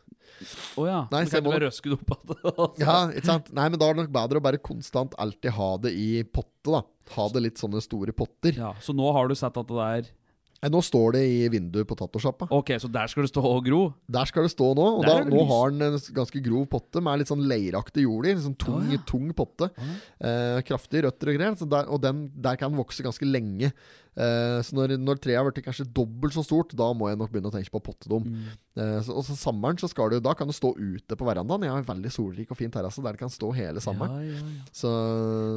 å ja. Nei, Nei, så jeg så kan du må- bare røske det opp igjen. altså. Ja, ikke sant? Nei, men da er det nok bedre å bare konstant alltid ha det i potte, da. Ha det litt sånne store potter. [LAUGHS] ja. Så nå har du sett at det er Nei, Nå står det i vinduet på tatosjappa. Ok, så der skal det stå og gro? Der skal det stå nå. Og Der da, er det nå lys. har den en s- ganske grov potte med litt sånn leiraktig jord i. en Sånn tung, Å, ja. tung potte. Eh, kraftige røtter og greier. Så der, og den, der kan den vokse ganske lenge. Eh, så når, når treet har blitt kanskje dobbelt så stort, da må jeg nok begynne å tenke på å potte dem. Mm. Eh, så, og så sommeren så skal du, da kan du stå ute på verandaen. Jeg har en veldig solrik og fin terrasse der det kan stå hele sommeren. Ja, ja, ja. Så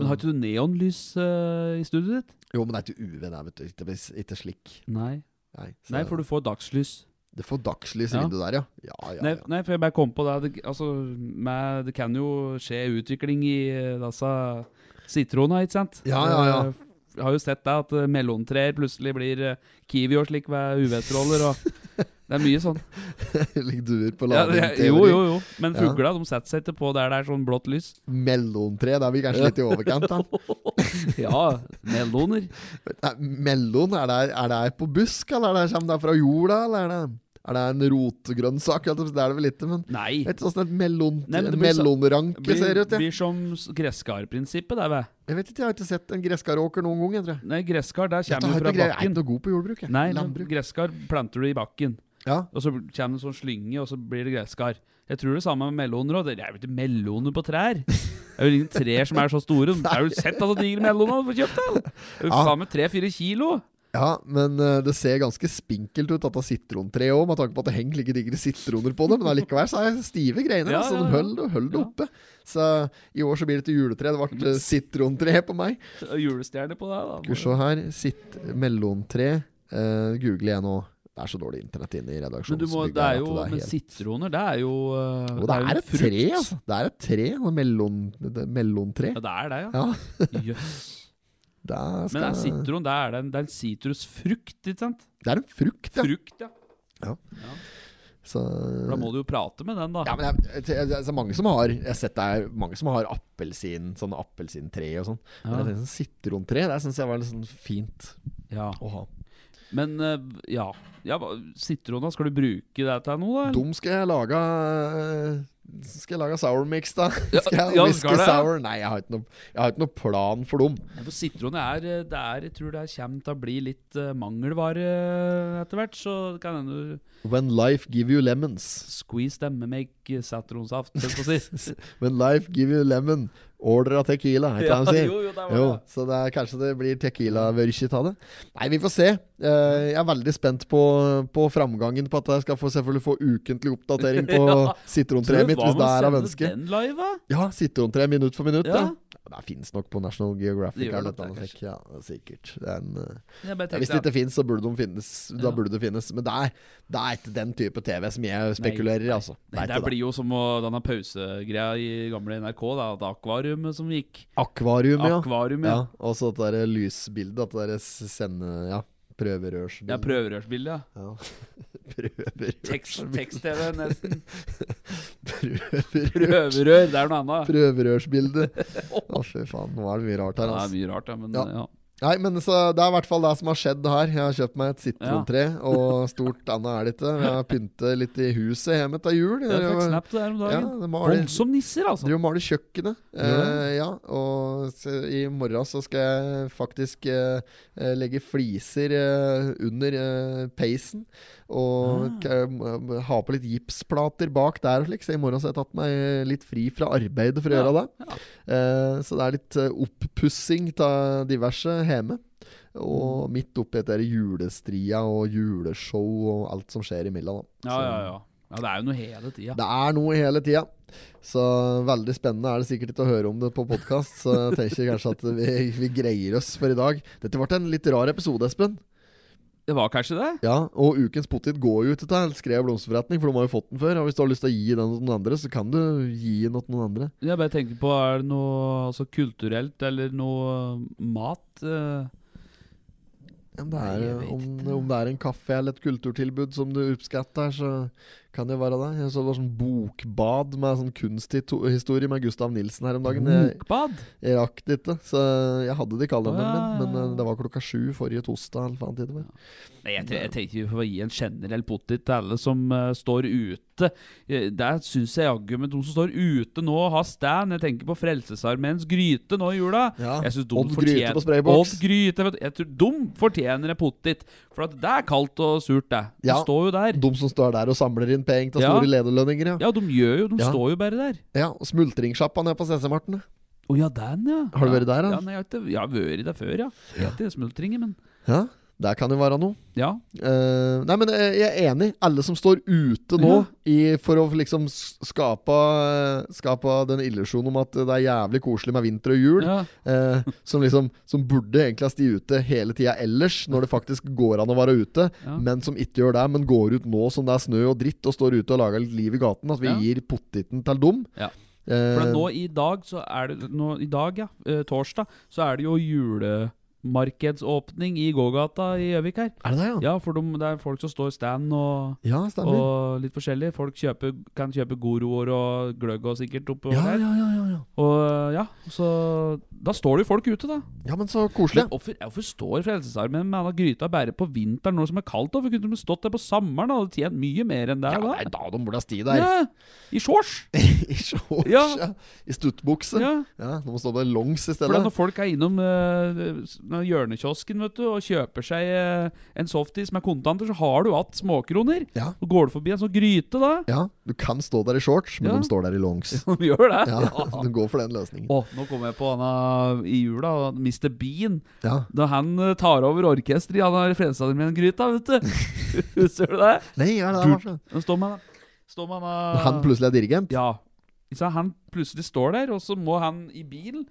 Men har ikke du neonlys eh, i studioet ditt? Jo, men det er ikke UV der, vet du. Ikke, ikke- ikke slik. Nei. Nei, så, Nei, for du får dagslys. Det får dagslys i Ja. vinduet der, ja. Ja, ja, Nei, ja. nei, for jeg bare kom på det. det altså, med, det kan jo skje utvikling i eh, disse sitronene, ikke sant? Ja, ja, ja. Eh, Jeg har jo sett det, at eh, melontrær plutselig blir eh, kiwi og slik ved UV-stråler. [LAUGHS] og Det er mye sånn. [LAUGHS] Ligger duer på Ja, lading. det, jo, jo, jo. Men Ja. fugla de setter seg ikke på der det er sånn blått lys. [LAUGHS] Mellomtre, det er vi kanskje litt i [LAUGHS] overkant. Da. Ja, meloner. Nei, Mellom, er det, er det på busk, eller er det, kommer det fra jorda? Eller er det, er det en rotgrønnsak? Eller, det er det vel ikke, men Nei. jeg vet ikke åssen et mellom, Nei, men det en blir så- mellomranke Blir, ser ut. Jeg. blir som s- gresskarprinsippet, det, vet du. jeg vet ikke, jeg har ikke sett en gresskarråker noen gang. Jeg tror jeg. Nei, gresskar, der Dette kommer har jo ikke fra greie- Jeg er bakken. ikke noe god på jordbruk. Jeg. Nei, men Landbruk. gresskar planter du i bakken. Ja. Og så kommer det en sånn slynge, og så blir det gresskar. Jeg tror det samme med meloner òg. Det er jo ikke meloner på trær. Det er jo ingen trær som er [LAUGHS] så store. Det er jo sett at digre meloner du får kjøpt, da! Det er jo Ja. Faen meg tre-fire kilo. ja, men eh, det ser ganske spinkelt ut, dette sitrontreet òg, med tanke på at det henger like digre sitroner på det. Men allikevel så er det stive altså. greiene. Ja, så ja, de ja. holder det- holder det Ja. oppe. Så i år så blir det til juletre. Det ble eh, sitrontre på meg. Og Julestjerne på deg, da. Skal vi se her. Sitt mellomtre. Uh, Google jeg nå. Det er så dårlig internett inne i Men, du må, redaksjonsbygget. det er her at jo, men helt- sitroner, det er jo Og eh, det jo er en et tre, altså. Det er et tre. sånn mellom- det- Mellomtre. Ja, det er det, ja. Ja. [LAUGHS] Jøss. Det, Men det er skal, sitron, det er det en- det er en sitrusfrukt, ikke sant? det er en frukt, ja. Frukt, ja. For Da Så, eh, må du jo prate med den, da. ja, men det er, det er- det er altså, mange som har Jeg har sett det er mange som har appelsin, sånn appelsintre og sånn. Men det er sånn Sitrontre, det syns jeg var litt sånn fint ja. å ha. Men eh, ja. ja hva- Sitrona, skal du bruke det til noe, da? eller? Dum skal jeg lage øh, Skal jeg lage sour mix, da? Skal jeg ja, whisky skal det? sour? Nei, jeg har ikke noe, jeg har ikke noe plan for dem. Nei, For sitron er, eh, det er Jeg tror det er- kommer til å bli litt eh, mangelvare eh, etter hvert. Så det kan hende du When life give you lemons. squeeze dem med make sitronsaft, holdt jeg på å [LAUGHS] si. When life give you lemon, order av tequila. er [LAUGHS] ikke det de sier? jo, jo, det var Jo, det. så det er, kanskje det blir tequila-vørkit av det. Nei, vi får se. Eh, jeg er veldig spent på, på framgangen på at jeg skal få, selvfølgelig få ukentlig oppdatering på [LAUGHS] Ja. Tror sitrontreet du mitt, hva hvis med det å er av sende ønske. Den live, da? Ja, sitrontre minutt for minutt. Ja. Ja. Det fins nok på National Det Geographic. gjør eller nok det, noe slikt. Ja, sikkert. Det er en, eh, Jeg bare Ja, hvis tenkte, det ikke fins, så burde de finnes. Da Ja. burde det finnes. Men det er, det er ikke den type TV som jeg spekulerer i, altså. Nei, Det er det ikke det. blir jo som å, denne pausegreia i gamle NRK, da. Det akvariumet som gikk. Akvarium, ja. Akvarium, ja. ja. Og så det derre lysbildet. At det derre s- sende... Ja, prøverørsbildet. Ja, prøverørsbilde, ja. Ja. Prøverørs- [LAUGHS] Tekst- Tekst-TV, nesten. Prøverørs- Prøverør, det er noe annet. [LAUGHS] Prøverørsbilde. Å, fy faen. Nå er det mye rart her, Ja, altså. Det er mye rart, ja, men Ja. ja. Nei, men så, Det er i hvert fall det som har skjedd her. Jeg har kjøpt meg et sitrontre, og stort annet er det ikke. Jeg har pyntet litt i huset hjemme til jul. Jeg fikk snap til det her om ja, dagen. det maler- Voldsom nisser, altså. Driver og maler kjøkkenet. Gjør det? Eh, ja, og så i morgen så skal jeg faktisk eh, eh, legge fliser eh, under eh, peisen. Og Ah. k- eh, ha på litt gipsplater bak der og slik. Så i morgen så har jeg tatt meg eh, litt fri fra arbeidet for å gjøre det. Eh, så det er litt eh, oppussing av diverse hjemme. Og Mm. midt oppi dette her julestria og juleshow og alt som skjer imellom. da. Ja, Så- ja, ja. Ja, Det er jo noe hele tida. det er noe hele tida. Så veldig spennende er det sikkert ikke å høre om det på podkast. Så jeg tenker kanskje at vi, vi greier oss for i dag. Dette ble en litt rar episode, Espen. Det var kanskje det? Ja, og ukens potet går jo ut til Skrev blomsterforretning, for de har jo fått den før. Og hvis du har lyst til å gi den til noen andre, så kan du gi den til noen andre. Jeg bare tenker på, er det noe altså, kulturelt eller noe eh, mat? eh, Om det, Nei, er, jeg vet om, ikke. om det er en kaffe eller et kulturtilbud som du oppskatter, så kan det jo være det. Jeg så det var sånn bokbad med sånn kunsthistorie med Gustav Nilsen her om dagen. Jeg, Bokbad? jeg rakk det ikke, så jeg hadde det i kalenderen Å, ja, min. ja, Men ja. eh, det var klokka sju forrige torsdag. Eller faen tid det var. Nei, jeg, te- jeg tenkte vi får gi en generell pottit til alle som eh, står ute. Eh, Der syns jeg jaggu men de som står ute nå, har stand. Jeg tenker på Frelsesarmeens gryte nå i jula. Ja, Jeg synes de Odd fortjener- Gryte på sprayboks. Odd Gryte, vet du. Jeg tror de fortjener en pottit. For at det er kaldt og surt, det. De Ja. står jo der. De som står der og samler inn penger til Ja. store lederlønninger. Ja. Ja, de gjør jo De Ja. står jo bare der. ja, og Smultringssjappa nede på CC-Marten. Å ja, den, ja. Har du Ja. vært der, da? Ja, nei, jeg, har ikke, jeg har vært der før, ja. Jeg har ikke smultringer, men Ja, der kan jo være noe. Ja. Eh, nei, men eh, jeg er enig. Alle som står ute nå i, for å liksom s- skape, eh, skape den illusjonen om at det er jævlig koselig med vinter og jul, ja. eh, som liksom Som burde egentlig ha stått ute hele tida ellers, når det faktisk går an å være ute, Ja. men som ikke gjør det, men går ut nå som det er snø og dritt, og står ute og lager litt liv i gaten, at vi Ja. gir pottiten til dem. Ja. Eh, For at nå i dag, så er det nå, I dag, ja, eh, torsdag, så er det jo julemarkedsåpning i gågata i Gjøvik her. er det det, ja? Ja, for de, det er folk som står i stand og, Ja, stemmer. og litt forskjellig. Folk kjøper, kan kjøpe goroer og gløgg og sikkert oppå ja, der. ja, ja, ja, ja. Og ja, så Da står det jo folk ute, da. ja, men så koselig. Men hvorfor, ja, hvorfor står Frelsesarmeen med denne gryta bare på vinteren når som er kaldt? da? Hvorfor kunne de stått der på sommeren og tjent mye mer enn det? Ja, det da? er da de burde ha sti der. Ja, I shorts! [LAUGHS] I shorts, ja. Ja. I stuttbukse. Ja. Ja. Nå må stå med longs i For stedet. da når folk er innom eh, s- når hjørnekiosken vet du, og kjøper seg eh, en softis med kontanter, så har du hatt småkroner. Ja. Og går du forbi en sånn gryte da [LAUGHS] Ja, du kan stå der i shorts, men Ja. de står der i longs. De gjør det. Ja, [LAUGHS] Du går for den løsningen. Å, nå kom jeg på han eh, i jula, han Mr. Bean. Ja. Da han eh, tar over orkesteret i han har Frelsesarmeen-gryta, vet du. [LAUGHS] Husker du det? Nei, ja, det er varsomt. Han står med han står med han, eh, Han plutselig er dirigent? Ja. Så han plutselig står der, og så må han i bilen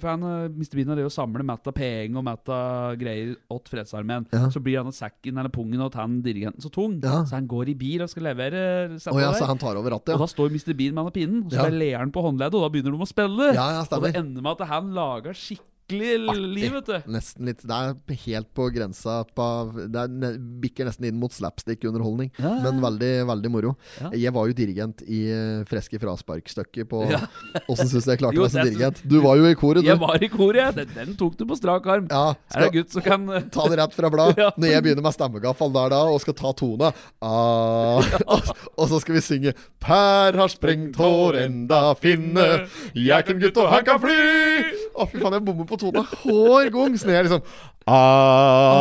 For han eh, mister bilen av det å samle mett av penger og mett av greier åt Fredsarmeen. Ja. Så blir han og sekken eller pungen åt han dirigenten så tung, Ja. så han går i bil og skal levere. eh, Å sette ja, der. så han tar over rattet, Og ja. da står Mr. Bean med han av pinnen, og så Ja. bare ler han på håndleddet, og da begynner de å spille. Ja, ja, og det stemmer. ender med at han lager skikkelig Artig. liv, vet du. Nesten litt Det er helt på grensa på Det er, ne, bikker nesten inn mot slapstick-underholdning, Ja. men veldig veldig moro. Ja. Jeg var jo dirigent i eh, Freske fraspark-stykket på Ja. Åssen syns du jeg klarte Jo, meg som det- dirigent? Du var jo i koret, Jeg du. var i koret, jeg. Den, den tok du på strak arm. Ja, Er det skal- en gutt som kan eh, [LAUGHS] Ta det rett fra blad. Ja. Når jeg begynner med stemmegaffel der da, og skal ta tona [LAUGHS] ah, og, og så skal vi synge Per har sprengt hår enda finne. Jeg kan gutt og han kan fly. Å, fy faen, jeg bommer på tona hver gang. Så når jeg liksom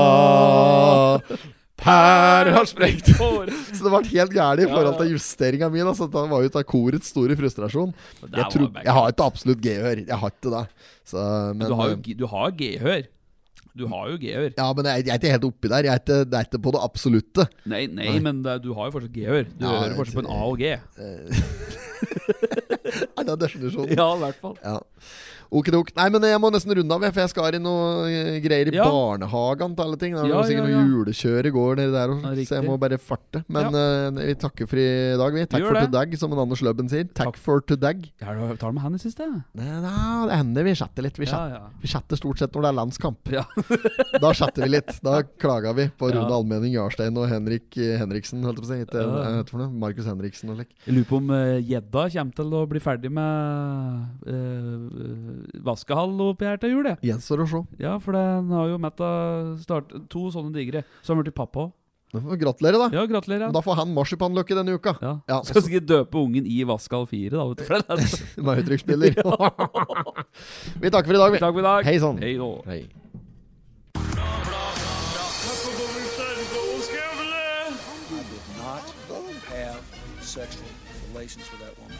ah, Per Ah. har sprengt hår? [LAUGHS] Så det ble helt gærent i forhold til justeringa mi. da, Så Det var jo ut av korets store frustrasjon. der Jeg, var trodde- det jeg har ikke absolutt gehør. Jeg har ikke det. Så, men, Du har jo eh, g- du har gehør. Du har jo gehør. Ja, men jeg, jeg er ikke helt oppi der. Jeg er ikke, det er ikke på det absolutte. Nei, nei, men det, du har jo fortsatt gehør. Du Ja, hører fortsatt på en A og G. [LAUGHS] Nei, det er definisjonen. Ja, i hvert fall. Ja. Okidok. Nei, men jeg må nesten runde av, jeg, for jeg skal i noe eh, greier i Ja. barnehagen til alle ting. Det er Ja, noe- sikkert ja, ja. noe julekjør i går nedi der, også, Ja, så jeg riktig. må bare farte. Men eh, vi takker for i dag, vi. Takk gjør for det. todag, som en Anders Løbben sier. Takk Takk. for todag. Jeg har talt med han i siste. Nei, nei, det hender vi chatter litt. Vi Ja, chatter, ja. vi chatter stort sett når det er landskamp. Ja. [LAUGHS] da chatter vi litt. Da klager vi på Ja. Rune Almening Jarstein og Henrik eh, Henriksen, holdt jeg på å si. Ikke- eh, Ja. hva heter det for noe? Markus Henriksen og lekk. Jeg lurer på om eh, gjedda kommer til å bli ferdig med eh, eh, vaskehall oppi her til jul. jeg. Gjenstår å se. Ja, for den har jo Metta start, to sånne digre. Så har han blitt pappa òg. Da får vi Gratulerer, da. Ja, gratulerer. Da får han marsipanløkke denne uka. Ja. Ja, Skal sikkert døpe ungen i Vaskehall 4, da. Vet du, for det [LAUGHS] er- Med høytrykksspiller. [LAUGHS] vi takker for i dag, vi. Takk for i dag. Hei sann. Hei da. Hei. Not have sexual relations with that woman.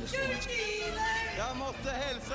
Miss Lewinsky. Jag måste hälsa